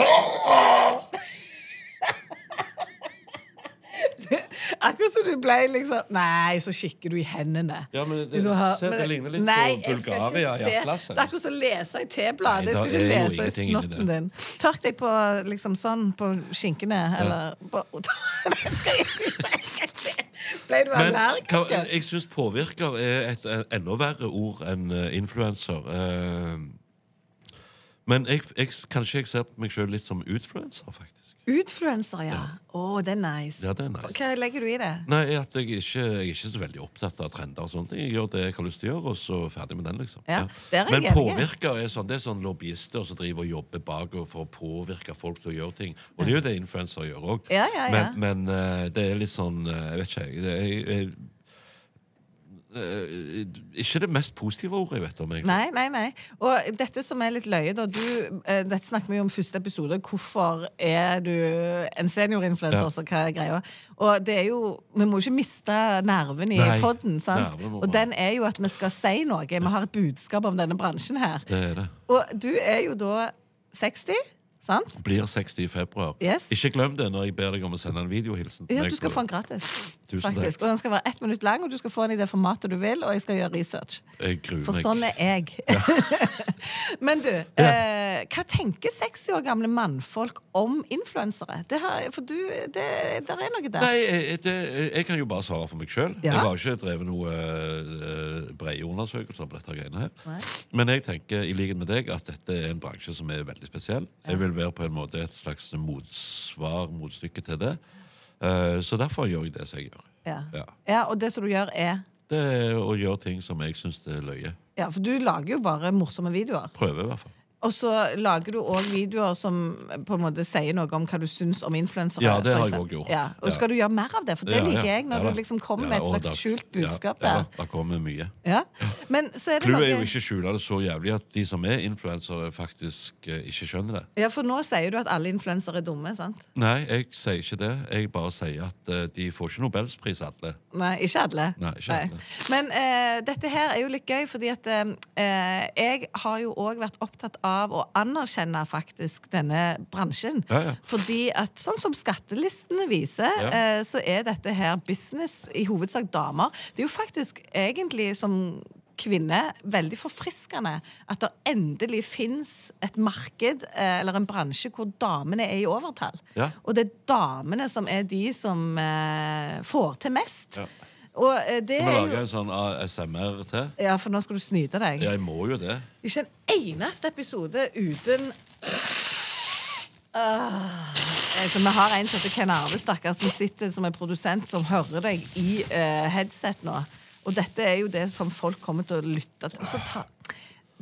[SPEAKER 1] Akkurat som du ble liksom Nei, så kikker du i hendene.
[SPEAKER 2] Ja, men det-
[SPEAKER 1] Du har-
[SPEAKER 2] se, det
[SPEAKER 1] men-
[SPEAKER 2] ligner litt
[SPEAKER 1] nei,
[SPEAKER 2] på
[SPEAKER 1] jeg skal ikke
[SPEAKER 2] Bulgaria i
[SPEAKER 1] se.
[SPEAKER 2] atlaset.
[SPEAKER 1] Det er akkurat som å lese i
[SPEAKER 2] Nei,
[SPEAKER 1] tebladet. Jeg skal
[SPEAKER 2] da
[SPEAKER 1] ikke
[SPEAKER 2] er jo
[SPEAKER 1] lese i
[SPEAKER 2] ingenting inni det.
[SPEAKER 1] snotten din. Tørk deg på liksom sånn på skinkene, eller på Nei, skal jeg ikke- Ble du
[SPEAKER 2] Men
[SPEAKER 1] allergisk?
[SPEAKER 2] hva, jeg syns påvirker er et eh, enda verre ord enn eh, influenser. Eh, Men jeg, jeg, kanskje jeg ser på meg sjøl litt som utfluenser, faktisk.
[SPEAKER 1] Utfluenser, ja. Å, det er nice.
[SPEAKER 2] Ja, det er nice.
[SPEAKER 1] Hva legger du i det?
[SPEAKER 2] Nei, at jeg, ikke, jeg er ikke så veldig opptatt av trender og sånne ting. Jeg gjør det jeg har lyst til å gjøre, og så ferdig med den, liksom.
[SPEAKER 1] Ja,
[SPEAKER 2] Ja.
[SPEAKER 1] der er jeg
[SPEAKER 2] Men
[SPEAKER 1] enig.
[SPEAKER 2] påvirker er sånn, det er sånn lobbyister som driver og jobber bak og for å påvirke folk til å gjøre ting. Og det er jo det influensere gjør òg.
[SPEAKER 1] Ja, ja, ja.
[SPEAKER 2] Men, men eh, det er litt sånn eh, Jeg vet ikke, jeg. Det er, jeg- jeg- eh, ikke det mest positive ordet jeg vet om, egentlig.
[SPEAKER 1] Nei, nei, nei. Og dette som er litt løye, da. Du, eh, dette snakket vi jo om første episode. Hvorfor er du en seniorinfluenser?
[SPEAKER 2] Ja.
[SPEAKER 1] så Hva er greia? Og det er jo Vi må ikke miste nerven i
[SPEAKER 2] Nei,
[SPEAKER 1] podden, sant?
[SPEAKER 2] nerven må
[SPEAKER 1] Og
[SPEAKER 2] man-
[SPEAKER 1] den er jo at vi skal si noe. Vi har et budskap om denne bransjen her.
[SPEAKER 2] Det er det.
[SPEAKER 1] Og du er jo da 60, sant?
[SPEAKER 2] Blir 60 i februar.
[SPEAKER 1] Yes.
[SPEAKER 2] Ikke glem det når jeg ber deg om å sende en videohilsen. til
[SPEAKER 1] Ja,
[SPEAKER 2] meg
[SPEAKER 1] du skal
[SPEAKER 2] på-
[SPEAKER 1] få den gratis.
[SPEAKER 2] Tusen takk.
[SPEAKER 1] faktisk. Og den skal være ett minutt lang, og du skal få den i det formatet du vil, og jeg skal gjøre research.
[SPEAKER 2] Jeg gruer
[SPEAKER 1] For
[SPEAKER 2] meg.
[SPEAKER 1] sånn er jeg. Men du, eh, hva tenker 60 år gamle mannfolk om influensere? Det har, for du, det, der er noe der.
[SPEAKER 2] Nei, jeg- det, jeg kan jo bare svare for meg sjøl.
[SPEAKER 1] Ja.
[SPEAKER 2] Jeg har ikke drevet noe eh, brede undersøkelser på dette greiene her. Men jeg tenker i likhet med deg at dette er en bransje som er veldig spesiell. Jeg vil være på en måte et slags motsvar, motstykke til det. Eh, Så derfor gjør jeg det som jeg gjør.
[SPEAKER 1] Ja.
[SPEAKER 2] Ja.
[SPEAKER 1] ja, Og det som du gjør, er
[SPEAKER 2] Det er å gjøre ting som jeg syns er løye.
[SPEAKER 1] Ja, for du lager jo bare morsomme videoer.
[SPEAKER 2] Prøver i hvert fall.
[SPEAKER 1] Og så lager du òg videoer som på en måte sier noe om hva du syns om influensere.
[SPEAKER 2] Ja,
[SPEAKER 1] for
[SPEAKER 2] det har jeg
[SPEAKER 1] eksempel.
[SPEAKER 2] også gjort.
[SPEAKER 1] Ja. Og
[SPEAKER 2] Ja.
[SPEAKER 1] skal du gjøre mer av det? For det
[SPEAKER 2] Ja, ja,
[SPEAKER 1] liker jeg, når
[SPEAKER 2] ja da.
[SPEAKER 1] du liksom kommer
[SPEAKER 2] Ja,
[SPEAKER 1] med et
[SPEAKER 2] og
[SPEAKER 1] slags
[SPEAKER 2] da-
[SPEAKER 1] skjult
[SPEAKER 2] ja,
[SPEAKER 1] budskap
[SPEAKER 2] ja,
[SPEAKER 1] der.
[SPEAKER 2] da, der kommer mye.
[SPEAKER 1] Ja. Men så er det
[SPEAKER 2] Clouet er jo
[SPEAKER 1] noe-
[SPEAKER 2] ikke å skjule det så jævlig at de som er influensere, faktisk eh, ikke skjønner det.
[SPEAKER 1] Ja, for nå sier du at alle influensere er dumme, sant?
[SPEAKER 2] Nei, jeg sier ikke det. Jeg bare sier at eh, de får ikke Nobelspris, alle.
[SPEAKER 1] Nei, ikke alle.
[SPEAKER 2] Nei, ikke alle.
[SPEAKER 1] Men eh, dette her er jo litt gøy, fordi at eh, jeg har jo òg vært opptatt av å anerkjenne faktisk denne bransjen.
[SPEAKER 2] Ja, ja.
[SPEAKER 1] Fordi at sånn som skattelistene viser,
[SPEAKER 2] Ja.
[SPEAKER 1] eh, så er dette her business, i hovedsak damer. Det er jo faktisk egentlig som kvinne veldig forfriskende at det endelig fins et marked eh, eller en bransje hvor damene er i overtall.
[SPEAKER 2] Ja.
[SPEAKER 1] Og det er damene som er de som eh, får til mest.
[SPEAKER 2] Ja.
[SPEAKER 1] Og eh, det
[SPEAKER 2] Skal vi
[SPEAKER 1] er
[SPEAKER 2] lage
[SPEAKER 1] jo
[SPEAKER 2] en sånn ASMR til?
[SPEAKER 1] Ja, for nå skal du snyte deg.
[SPEAKER 2] Ja, jeg må jo det.
[SPEAKER 1] Ikke en eneste episode uten Ah. Eh, Så Vi har en som heter Ken Arve, stakkar, som sitter som en produsent som hører deg i eh, headset nå. Og dette er jo det som folk kommer til å lytte til. Og så ta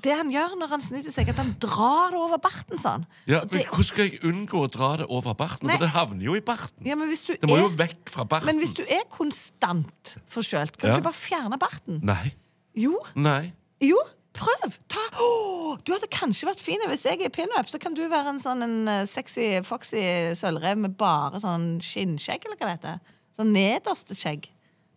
[SPEAKER 1] det han gjør når han snyter seg, at han drar det over barten sånn.
[SPEAKER 2] Ja,
[SPEAKER 1] Og
[SPEAKER 2] men
[SPEAKER 1] det,
[SPEAKER 2] Hvordan skal jeg unngå å dra det over barten?
[SPEAKER 1] Nei.
[SPEAKER 2] For det havner jo i barten.
[SPEAKER 1] ja, men hvis du
[SPEAKER 2] det må
[SPEAKER 1] er,
[SPEAKER 2] jo vekk fra barten.
[SPEAKER 1] Men hvis du er konstant forkjølt, kan
[SPEAKER 2] Ja.
[SPEAKER 1] du ikke bare fjerne barten?
[SPEAKER 2] Nei.
[SPEAKER 1] Jo.
[SPEAKER 2] Nei.
[SPEAKER 1] Jo, prøv! Ta. Åh, du hadde kanskje vært fin. Hvis jeg er pinup, så kan du være en sånn en eh, sexy, foxy sølvrev med bare sånn skinnskjegg, eller hva det heter. Sånn nederste skjegg.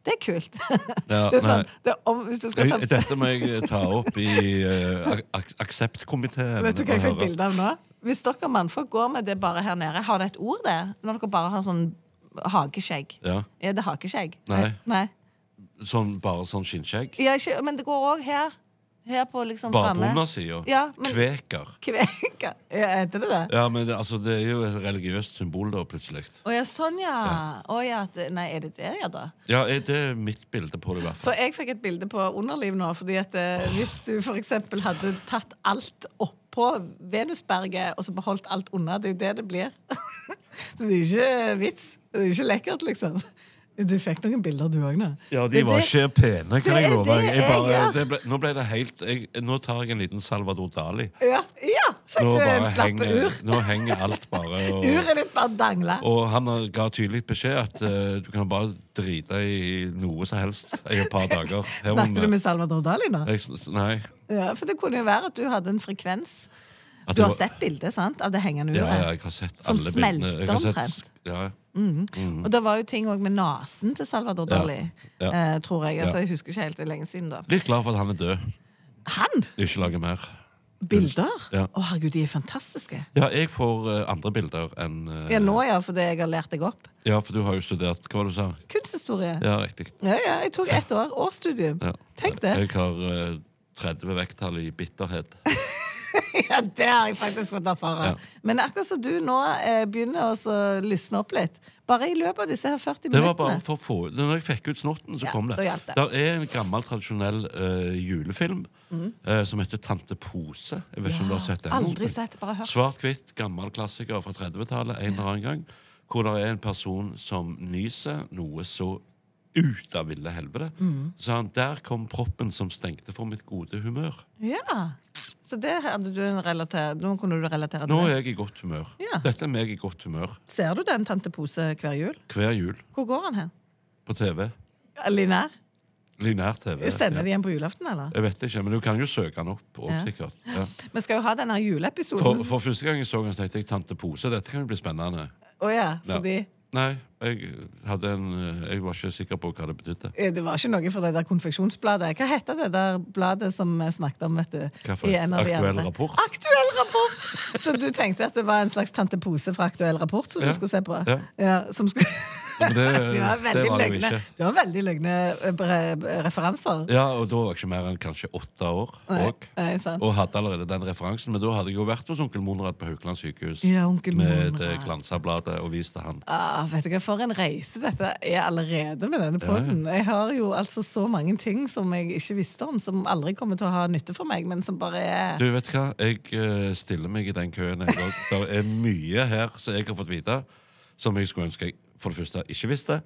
[SPEAKER 1] Det er kult.
[SPEAKER 2] Ja,
[SPEAKER 1] det er sånn,
[SPEAKER 2] nei.
[SPEAKER 1] det er om, hvis du skal ta
[SPEAKER 2] Jeg- Dette må jeg ta opp i eh, ak- akseptkomiteen.
[SPEAKER 1] Vet du hva jeg fikk
[SPEAKER 2] og høre.
[SPEAKER 1] bilde av nå? Hvis dere mannfolk går med det bare her nede, har det et ord, det? Når dere bare har sånn hageskjegg.
[SPEAKER 2] Ja.
[SPEAKER 1] Er det hakeskjegg?
[SPEAKER 2] Nei.
[SPEAKER 1] Nei.
[SPEAKER 2] Sånn, bare sånn skinnskjegg?
[SPEAKER 1] Ja, ikke, men det går òg her. Her på liksom
[SPEAKER 2] Bare på
[SPEAKER 1] framme.
[SPEAKER 2] undersida?
[SPEAKER 1] Ja, men-
[SPEAKER 2] Kveker.
[SPEAKER 1] Kveka. Ja, heter det det?
[SPEAKER 2] Ja, men det, altså, det er jo et religiøst symbol, da, plutselig.
[SPEAKER 1] Å ja, sånn, ja. Å ja. det- Nei, er det det, ja da?
[SPEAKER 2] Ja, er det er mitt bilde på det, i hvert
[SPEAKER 1] For
[SPEAKER 2] fall.
[SPEAKER 1] jeg fikk et bilde på underliv nå, fordi at eh, hvis du for eksempel hadde tatt alt oppå Venusberget, og så beholdt alt unna, det er jo det det blir. Så det er ikke vits. Det er ikke lekkert, liksom. Du fikk noen bilder, du òg, nå.
[SPEAKER 2] Ja,
[SPEAKER 1] Det
[SPEAKER 2] de
[SPEAKER 1] er
[SPEAKER 2] var
[SPEAKER 1] det-
[SPEAKER 2] ikke pene,
[SPEAKER 1] det
[SPEAKER 2] kan jeg
[SPEAKER 1] er
[SPEAKER 2] love.
[SPEAKER 1] det
[SPEAKER 2] Jeg
[SPEAKER 1] jeg
[SPEAKER 2] bare,
[SPEAKER 1] gjør.
[SPEAKER 2] det ble, nå ble det helt jeg, Nå tar jeg en liten Salvador Dali.
[SPEAKER 1] Ja, ja fikk
[SPEAKER 2] Nå,
[SPEAKER 1] du en
[SPEAKER 2] bare
[SPEAKER 1] slappe
[SPEAKER 2] henger,
[SPEAKER 1] ur?
[SPEAKER 2] nå henger alt bare og,
[SPEAKER 1] Uret ditt bare dangla.
[SPEAKER 2] og han har- ga tydelig beskjed at eh, du kan bare drite i noe som helst i et par dager. Her må
[SPEAKER 1] Snakket
[SPEAKER 2] vi-
[SPEAKER 1] du med Salvador Dali nå?
[SPEAKER 2] jeg, s- Nei.
[SPEAKER 1] Ja, for det kunne jo være at du hadde en frekvens.
[SPEAKER 2] At
[SPEAKER 1] Du har
[SPEAKER 2] det var-
[SPEAKER 1] sett bildet, sant? Av det hengende uret.
[SPEAKER 2] Ja, ja, jeg har sett
[SPEAKER 1] Som
[SPEAKER 2] alle bildene.
[SPEAKER 1] smelter
[SPEAKER 2] Jeg har sett-
[SPEAKER 1] omtrent.
[SPEAKER 2] Ja,
[SPEAKER 1] Og det var jo ting òg med nesen til Salvador Dali,
[SPEAKER 2] Ja.
[SPEAKER 1] Eh, tror jeg. Altså, jeg husker ikke helt det er lenge siden, da.
[SPEAKER 2] litt glad for at han er død.
[SPEAKER 1] Han!
[SPEAKER 2] Ikke lage mer.
[SPEAKER 1] Bilder! Å,
[SPEAKER 2] Ja.
[SPEAKER 1] herregud, de er fantastiske.
[SPEAKER 2] Ja, jeg får eh, andre bilder enn eh,
[SPEAKER 1] Ja, nå, ja, fordi jeg har lært deg opp.
[SPEAKER 2] Ja, for du har jo studert Hva var det du sa?
[SPEAKER 1] Kunsthistorie. Ja.
[SPEAKER 2] Ja, riktig.
[SPEAKER 1] ja, Jeg tok ett år. Årsstudium.
[SPEAKER 2] Ja.
[SPEAKER 1] Tenk det.
[SPEAKER 2] Jeg har eh, 30 vekttall i bitterhet.
[SPEAKER 1] Ja, det har jeg faktisk fått erfare.
[SPEAKER 2] Ja.
[SPEAKER 1] Men akkurat som du nå eh, begynner å så lysne opp litt. Bare i løpet av disse her 40
[SPEAKER 2] Det var bare
[SPEAKER 1] minuttene.
[SPEAKER 2] for å få det- Når jeg fikk ut snotten, så
[SPEAKER 1] Ja,
[SPEAKER 2] kom det.
[SPEAKER 1] da hjalp det.
[SPEAKER 2] Der er en gammel, tradisjonell eh, julefilm eh, som heter Tante Pose. Jeg vet ikke om du har sett den?
[SPEAKER 1] Mhm. Aldri sett, bare hørt.
[SPEAKER 2] Svart-hvitt, gammel klassiker fra 30-tallet en eller annen gang. Hvor det er en person som nyser noe så ut av ville helvete.
[SPEAKER 1] Mhm.
[SPEAKER 2] Så han, der kom proppen som stengte for mitt gode humør.
[SPEAKER 1] Ja. Så det hadde du en relater... Nå kunne du relatere
[SPEAKER 2] Nå
[SPEAKER 1] til det.
[SPEAKER 2] er jeg i godt humør.
[SPEAKER 1] Ja.
[SPEAKER 2] Dette er meg i godt humør
[SPEAKER 1] Ser du den Tante Pose hver jul?
[SPEAKER 2] hver jul
[SPEAKER 1] Hvor går han hen?
[SPEAKER 2] på TV.
[SPEAKER 1] Linær?
[SPEAKER 2] Linær-TV.
[SPEAKER 1] Sender de
[SPEAKER 2] Ja.
[SPEAKER 1] en på julaften, eller?
[SPEAKER 2] Jeg vet ikke, men du kan jo søke den opp. Og,
[SPEAKER 1] Ja.
[SPEAKER 2] sikkert. Ja.
[SPEAKER 1] Vi skal jo ha denne
[SPEAKER 2] For,
[SPEAKER 1] juleepisoden.
[SPEAKER 2] for første gang jeg så den, så tenkte jeg Tante Pose, dette kan jo bli spennende.
[SPEAKER 1] Å ja,
[SPEAKER 2] Ja.
[SPEAKER 1] fordi
[SPEAKER 2] Nei, jeg, hadde en, eh, jeg var ikke sikker på hva det betydde.
[SPEAKER 1] eh, det var ikke noe for det der konfeksjonsbladet. Hva heter det der bladet som vi snakket om, vet du?
[SPEAKER 2] Hva for et? Aktuell rapport?
[SPEAKER 1] Aktuell rapport! Så du tenkte at det var en slags Tante Pose fra Aktuell rapport som
[SPEAKER 2] Ja.
[SPEAKER 1] du skulle se på?
[SPEAKER 2] Ja.
[SPEAKER 1] som skulle...
[SPEAKER 2] Men det-
[SPEAKER 1] du har
[SPEAKER 2] det
[SPEAKER 1] veldig
[SPEAKER 2] var det jo
[SPEAKER 1] løgne,
[SPEAKER 2] ikke.
[SPEAKER 1] du har veldig løgne eh, bre- referanser.
[SPEAKER 2] Ja, og da var jeg ikke mer enn kanskje åtte år.
[SPEAKER 1] Nei,
[SPEAKER 2] Og,
[SPEAKER 1] nei, sant.
[SPEAKER 2] og hadde allerede den referansen, men da hadde jeg jo vært hos onkel Monrad på Haukeland sykehus
[SPEAKER 1] Ja, onkel
[SPEAKER 2] med
[SPEAKER 1] Monrad.
[SPEAKER 2] det glansabladet og viste han.
[SPEAKER 1] Ah, vet du hva, For en reise dette er allerede med denne podden. Jeg har jo altså så mange ting som jeg ikke visste om, som aldri kommer til å ha nytte for meg, men som bare er
[SPEAKER 2] Du, vet hva? Jeg eh, stiller meg i den køen. Jeg, også. det er mye her som jeg har fått vite, som jeg skulle ønske jeg for det første ikke visste.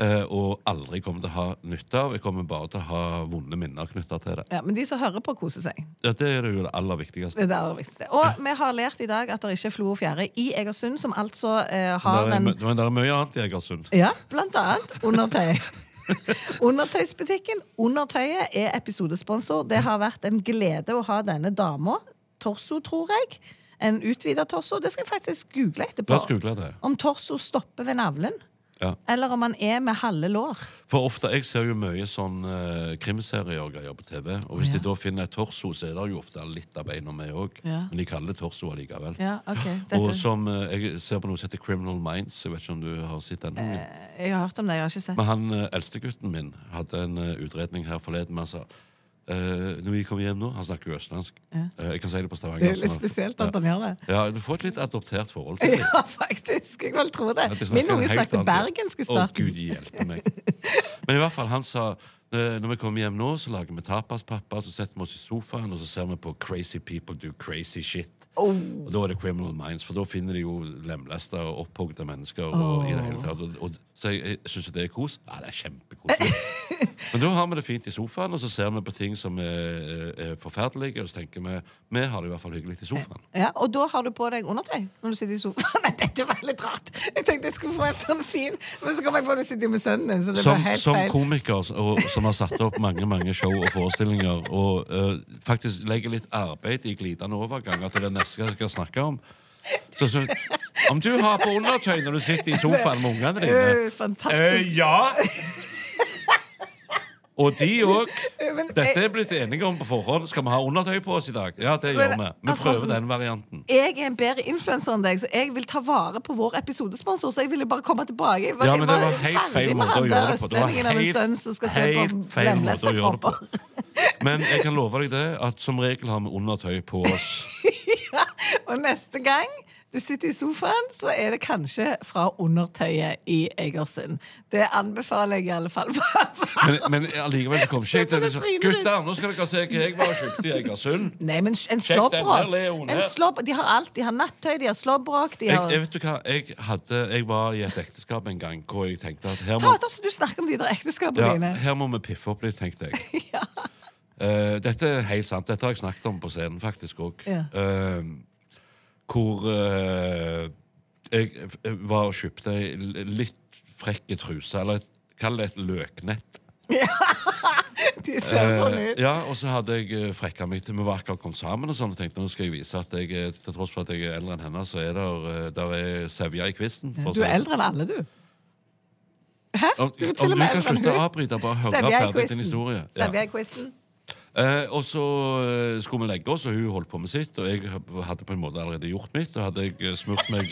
[SPEAKER 2] eh, og aldri kommer til å ha nytte av. Jeg kommer bare til å ha vonde minner knytta til det.
[SPEAKER 1] Ja, men de som hører på, koser seg.
[SPEAKER 2] Ja, det er jo det aller
[SPEAKER 1] Det
[SPEAKER 2] viktigste.
[SPEAKER 1] er det aller viktigste. Og vi har lært i dag at det ikke er flo og fjære i Egersund, som altså eh, har
[SPEAKER 2] Men
[SPEAKER 1] den
[SPEAKER 2] det er, men det er mye annet i Egersund.
[SPEAKER 1] Ja, blant annet undertøy. Undertøysbutikken Undertøyet er episodesponsor. Det har vært en glede å ha denne dama. Torso, tror jeg. En utvida torso. Det skal jeg faktisk google etterpå.
[SPEAKER 2] La oss google det.
[SPEAKER 1] Om torso stopper ved navlen.
[SPEAKER 2] Ja.
[SPEAKER 1] Eller om han er med halve lår.
[SPEAKER 2] For ofte, Jeg ser jo mye sånn eh, krimserier og greier på TV. Og
[SPEAKER 1] Ja.
[SPEAKER 2] hvis de da finner et torso, så er det jo ofte litt av beina med òg.
[SPEAKER 1] Ja.
[SPEAKER 2] Men de kaller det torso allikevel.
[SPEAKER 1] Ja, ok.
[SPEAKER 2] Og
[SPEAKER 1] Dette,
[SPEAKER 2] som eh, Jeg ser på noe som heter Criminal Minds. Jeg vet ikke om du har sett den?
[SPEAKER 1] Eh.
[SPEAKER 2] Ungen?
[SPEAKER 1] jeg har hørt om det, jeg har ikke sett.
[SPEAKER 2] Men han eh, eldstegutten min hadde en eh, utredning her forleden. Men han sa eh, Når vi kommer hjem nå Han snakker jo østlandsk. Eh, jeg kan si det på
[SPEAKER 1] Det
[SPEAKER 2] stavanger.
[SPEAKER 1] er jo litt
[SPEAKER 2] sånn at-
[SPEAKER 1] spesielt at han gjør det.
[SPEAKER 2] ja, Du får et litt adoptert forhold til det.
[SPEAKER 1] Ja, faktisk. Jeg vil tro det.
[SPEAKER 2] At de
[SPEAKER 1] Min
[SPEAKER 2] en
[SPEAKER 1] unge
[SPEAKER 2] sånn helt
[SPEAKER 1] snakket
[SPEAKER 2] annen-
[SPEAKER 1] bergensk i
[SPEAKER 2] Å,
[SPEAKER 1] starten.
[SPEAKER 2] Gud hjelpe meg. Men i hvert fall, han sa eh, når vi kommer hjem nå, så lager vi tapaspappa, så setter vi oss i sofaen og så ser vi på Crazy People Do Crazy Shit. Og da er det Criminal Minds, for da finner de jo lemlesta og opphogde mennesker. Og, i det hele tatt. Og, og, så jeg, jeg syns det er kos. Ja, det er kjempekoselig. Men da har vi det fint i sofaen, og så ser vi på ting som er, er forferdelige, og så tenker vi vi har det i hvert fall hyggelig i sofaen.
[SPEAKER 1] Ja, og da har du på deg undertøy når du sitter i sofaen. Nei, dette var litt rart. Jeg tenkte jeg skulle få en sånn fin, men så kom jeg på at du sitter jo med sønnen din. Så det
[SPEAKER 2] som,
[SPEAKER 1] var helt
[SPEAKER 2] som
[SPEAKER 1] feil.
[SPEAKER 2] komiker s- og, som har satt opp mange mange show og forestillinger, og eh, faktisk legger litt arbeid i glidende overganger til det neste jeg skal snakke om så, så, Om du har på undertøy når du sitter i sofaen med
[SPEAKER 1] Øh,
[SPEAKER 2] ungene dine? Eh,
[SPEAKER 1] fantastisk.
[SPEAKER 2] ja! Og de òg.
[SPEAKER 1] Men
[SPEAKER 2] Dette er blitt enige om på forhånd. Skal vi ha undertøy på oss i dag? Ja, det gjør
[SPEAKER 1] Men,
[SPEAKER 2] vi. Vi
[SPEAKER 1] altså-
[SPEAKER 2] prøver den varianten.
[SPEAKER 1] Jeg er en bedre influenser enn deg, så jeg vil ta vare på vår episodesponsor. Så jeg ville bare komme tilbake. Jeg
[SPEAKER 2] Ja, men det
[SPEAKER 1] jeg
[SPEAKER 2] var helt
[SPEAKER 1] ferdig
[SPEAKER 2] feil
[SPEAKER 1] med
[SPEAKER 2] måte
[SPEAKER 1] han
[SPEAKER 2] å
[SPEAKER 1] der
[SPEAKER 2] gjøre det på. Det var
[SPEAKER 1] østlendingen av en
[SPEAKER 2] helt-
[SPEAKER 1] sønn som skal se på
[SPEAKER 2] helt feil måte
[SPEAKER 1] lemlesta
[SPEAKER 2] å gjøre det på.
[SPEAKER 1] kropper.
[SPEAKER 2] Men jeg kan love deg det at som regel har vi undertøy på oss.
[SPEAKER 1] Ja, og neste gang du sitter i sofaen, så er det kanskje fra undertøyet i Egersund. Det anbefaler jeg i alle fall.
[SPEAKER 2] Men, men allikevel så kom ikke jeg
[SPEAKER 1] Se på Sånn
[SPEAKER 2] til
[SPEAKER 1] det
[SPEAKER 2] å si,
[SPEAKER 1] trynet ditt.
[SPEAKER 2] Gutter, nå skal dere se hva jeg var og kjøpte i Egersund.
[SPEAKER 1] Nei, men en
[SPEAKER 2] Sjekk den her,
[SPEAKER 1] slåbrok.
[SPEAKER 2] Leon,
[SPEAKER 1] En
[SPEAKER 2] her.
[SPEAKER 1] slåbrok. De har alt. De har nattøy, de har slåbrok, de
[SPEAKER 2] Jeg,
[SPEAKER 1] har
[SPEAKER 2] jeg, vet du hva, jeg, hadde, jeg var i et ekteskap en gang hvor jeg tenkte at her må,
[SPEAKER 1] Fader, så du snakker om de der ekteskapene
[SPEAKER 2] ja,
[SPEAKER 1] dine.
[SPEAKER 2] her må vi piffe opp litt, tenkte jeg. Eh, dette er helt sant. Dette har jeg snakket om på scenen faktisk òg.
[SPEAKER 1] Ja.
[SPEAKER 2] hvor eh, jeg f- var og kjøpte ei l- litt frekke truse, eller et- kall det et løknett.
[SPEAKER 1] De ser sånn ut.
[SPEAKER 2] Eh, Ja, og så hadde jeg eh, frekka meg til Vi var akkurat kommet sammen og sånn og tenkte nå skal jeg vise at jeg eh, til tross for at jeg er eldre enn henne, så er der, eh, der er sevja i kvisten. for å
[SPEAKER 1] Du er
[SPEAKER 2] si det sånn.
[SPEAKER 1] eldre enn alle, du. Hæ?
[SPEAKER 2] Om,
[SPEAKER 1] Du er til og
[SPEAKER 2] om du
[SPEAKER 1] med
[SPEAKER 2] kan
[SPEAKER 1] eldre enn
[SPEAKER 2] slutte å
[SPEAKER 1] hun.
[SPEAKER 2] avbryte, bare høre
[SPEAKER 1] Sevja i
[SPEAKER 2] ferdig
[SPEAKER 1] quizen.
[SPEAKER 2] din historie. Ja.
[SPEAKER 1] Sevja i quizen.
[SPEAKER 2] Eh, og så eh, skulle vi legge oss, og hun holdt på med sitt, og jeg hadde på en måte allerede gjort mitt. Og hadde jeg eh, smurt meg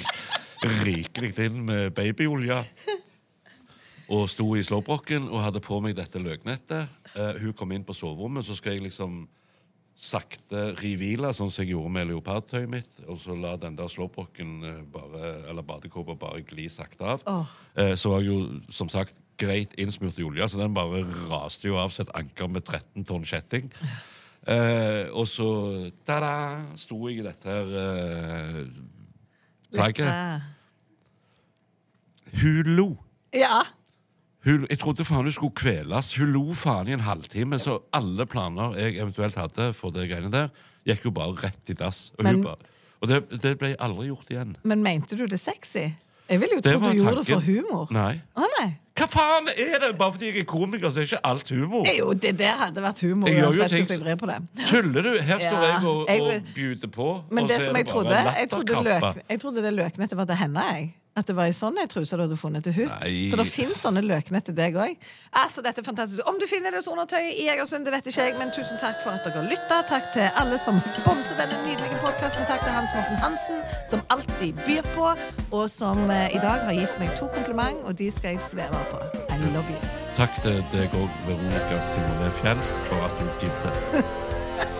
[SPEAKER 2] rikelig inn med babyolje. Og sto i slåbroken og hadde på meg dette løgnettet. Eh, hun kom inn på soverommet, så skal jeg liksom sakte rivile, sånn som jeg gjorde med leopardtøyet mitt, og så la den der slåbroken eh, bare, eller badekåpa bare gli sakte av. Eh, så var jeg jo som sagt greit innsmurt i olje, så den bare raste jo av som et anker med 13 tonn kjetting. Eh, og så da-da, sto jeg i dette her eh, plagget.
[SPEAKER 1] Eh,
[SPEAKER 2] Hun lo.
[SPEAKER 1] Ja.
[SPEAKER 2] Hun, jeg trodde faen hun skulle kveles. Hun lo faen i en halvtime, så alle planer jeg eventuelt hadde for det greiene der, gikk jo bare rett i dass. Og,
[SPEAKER 1] Men-
[SPEAKER 2] hun bare, og det, det ble aldri gjort igjen.
[SPEAKER 1] Men mente du det sexy? Jeg ville jo
[SPEAKER 2] Det
[SPEAKER 1] tro
[SPEAKER 2] var
[SPEAKER 1] du gjorde det
[SPEAKER 2] tanken.
[SPEAKER 1] for humor.
[SPEAKER 2] Nei.
[SPEAKER 1] Å nei.
[SPEAKER 2] Hva faen er det? Bare fordi jeg er komiker, så er ikke alt humor.
[SPEAKER 1] Jo, det der hadde vært humor.
[SPEAKER 2] Jeg gjør jo
[SPEAKER 1] uansett
[SPEAKER 2] ting-
[SPEAKER 1] hvordan jeg vrir på det.
[SPEAKER 2] Tuller du? Her står
[SPEAKER 1] Ja,
[SPEAKER 2] jeg og,
[SPEAKER 1] jeg-
[SPEAKER 2] og bjuder på.
[SPEAKER 1] Men
[SPEAKER 2] og
[SPEAKER 1] det
[SPEAKER 2] så er
[SPEAKER 1] som jeg
[SPEAKER 2] bare
[SPEAKER 1] trodde, jeg trodde,
[SPEAKER 2] latterkrampe.
[SPEAKER 1] løk, jeg trodde det løknettet var til henne. jeg. At det var i sånn ei truse du hadde funnet til hun.
[SPEAKER 2] Nei.
[SPEAKER 1] Så det fins sånne løknett til deg òg. Altså, dette er fantastisk. Om du finner det hos Undertøyet i Egersund, det vet ikke jeg, men tusen takk for at dere lytta. Takk til alle som sponser denne nydelige podkasten. Takk til Hans Morten Hansen, som alltid byr på, og som eh, i dag har gitt meg to kompliment, og de skal jeg sveve på. I love you.
[SPEAKER 2] Takk til deg òg, Veronica Simone Fjell, for at du gidder.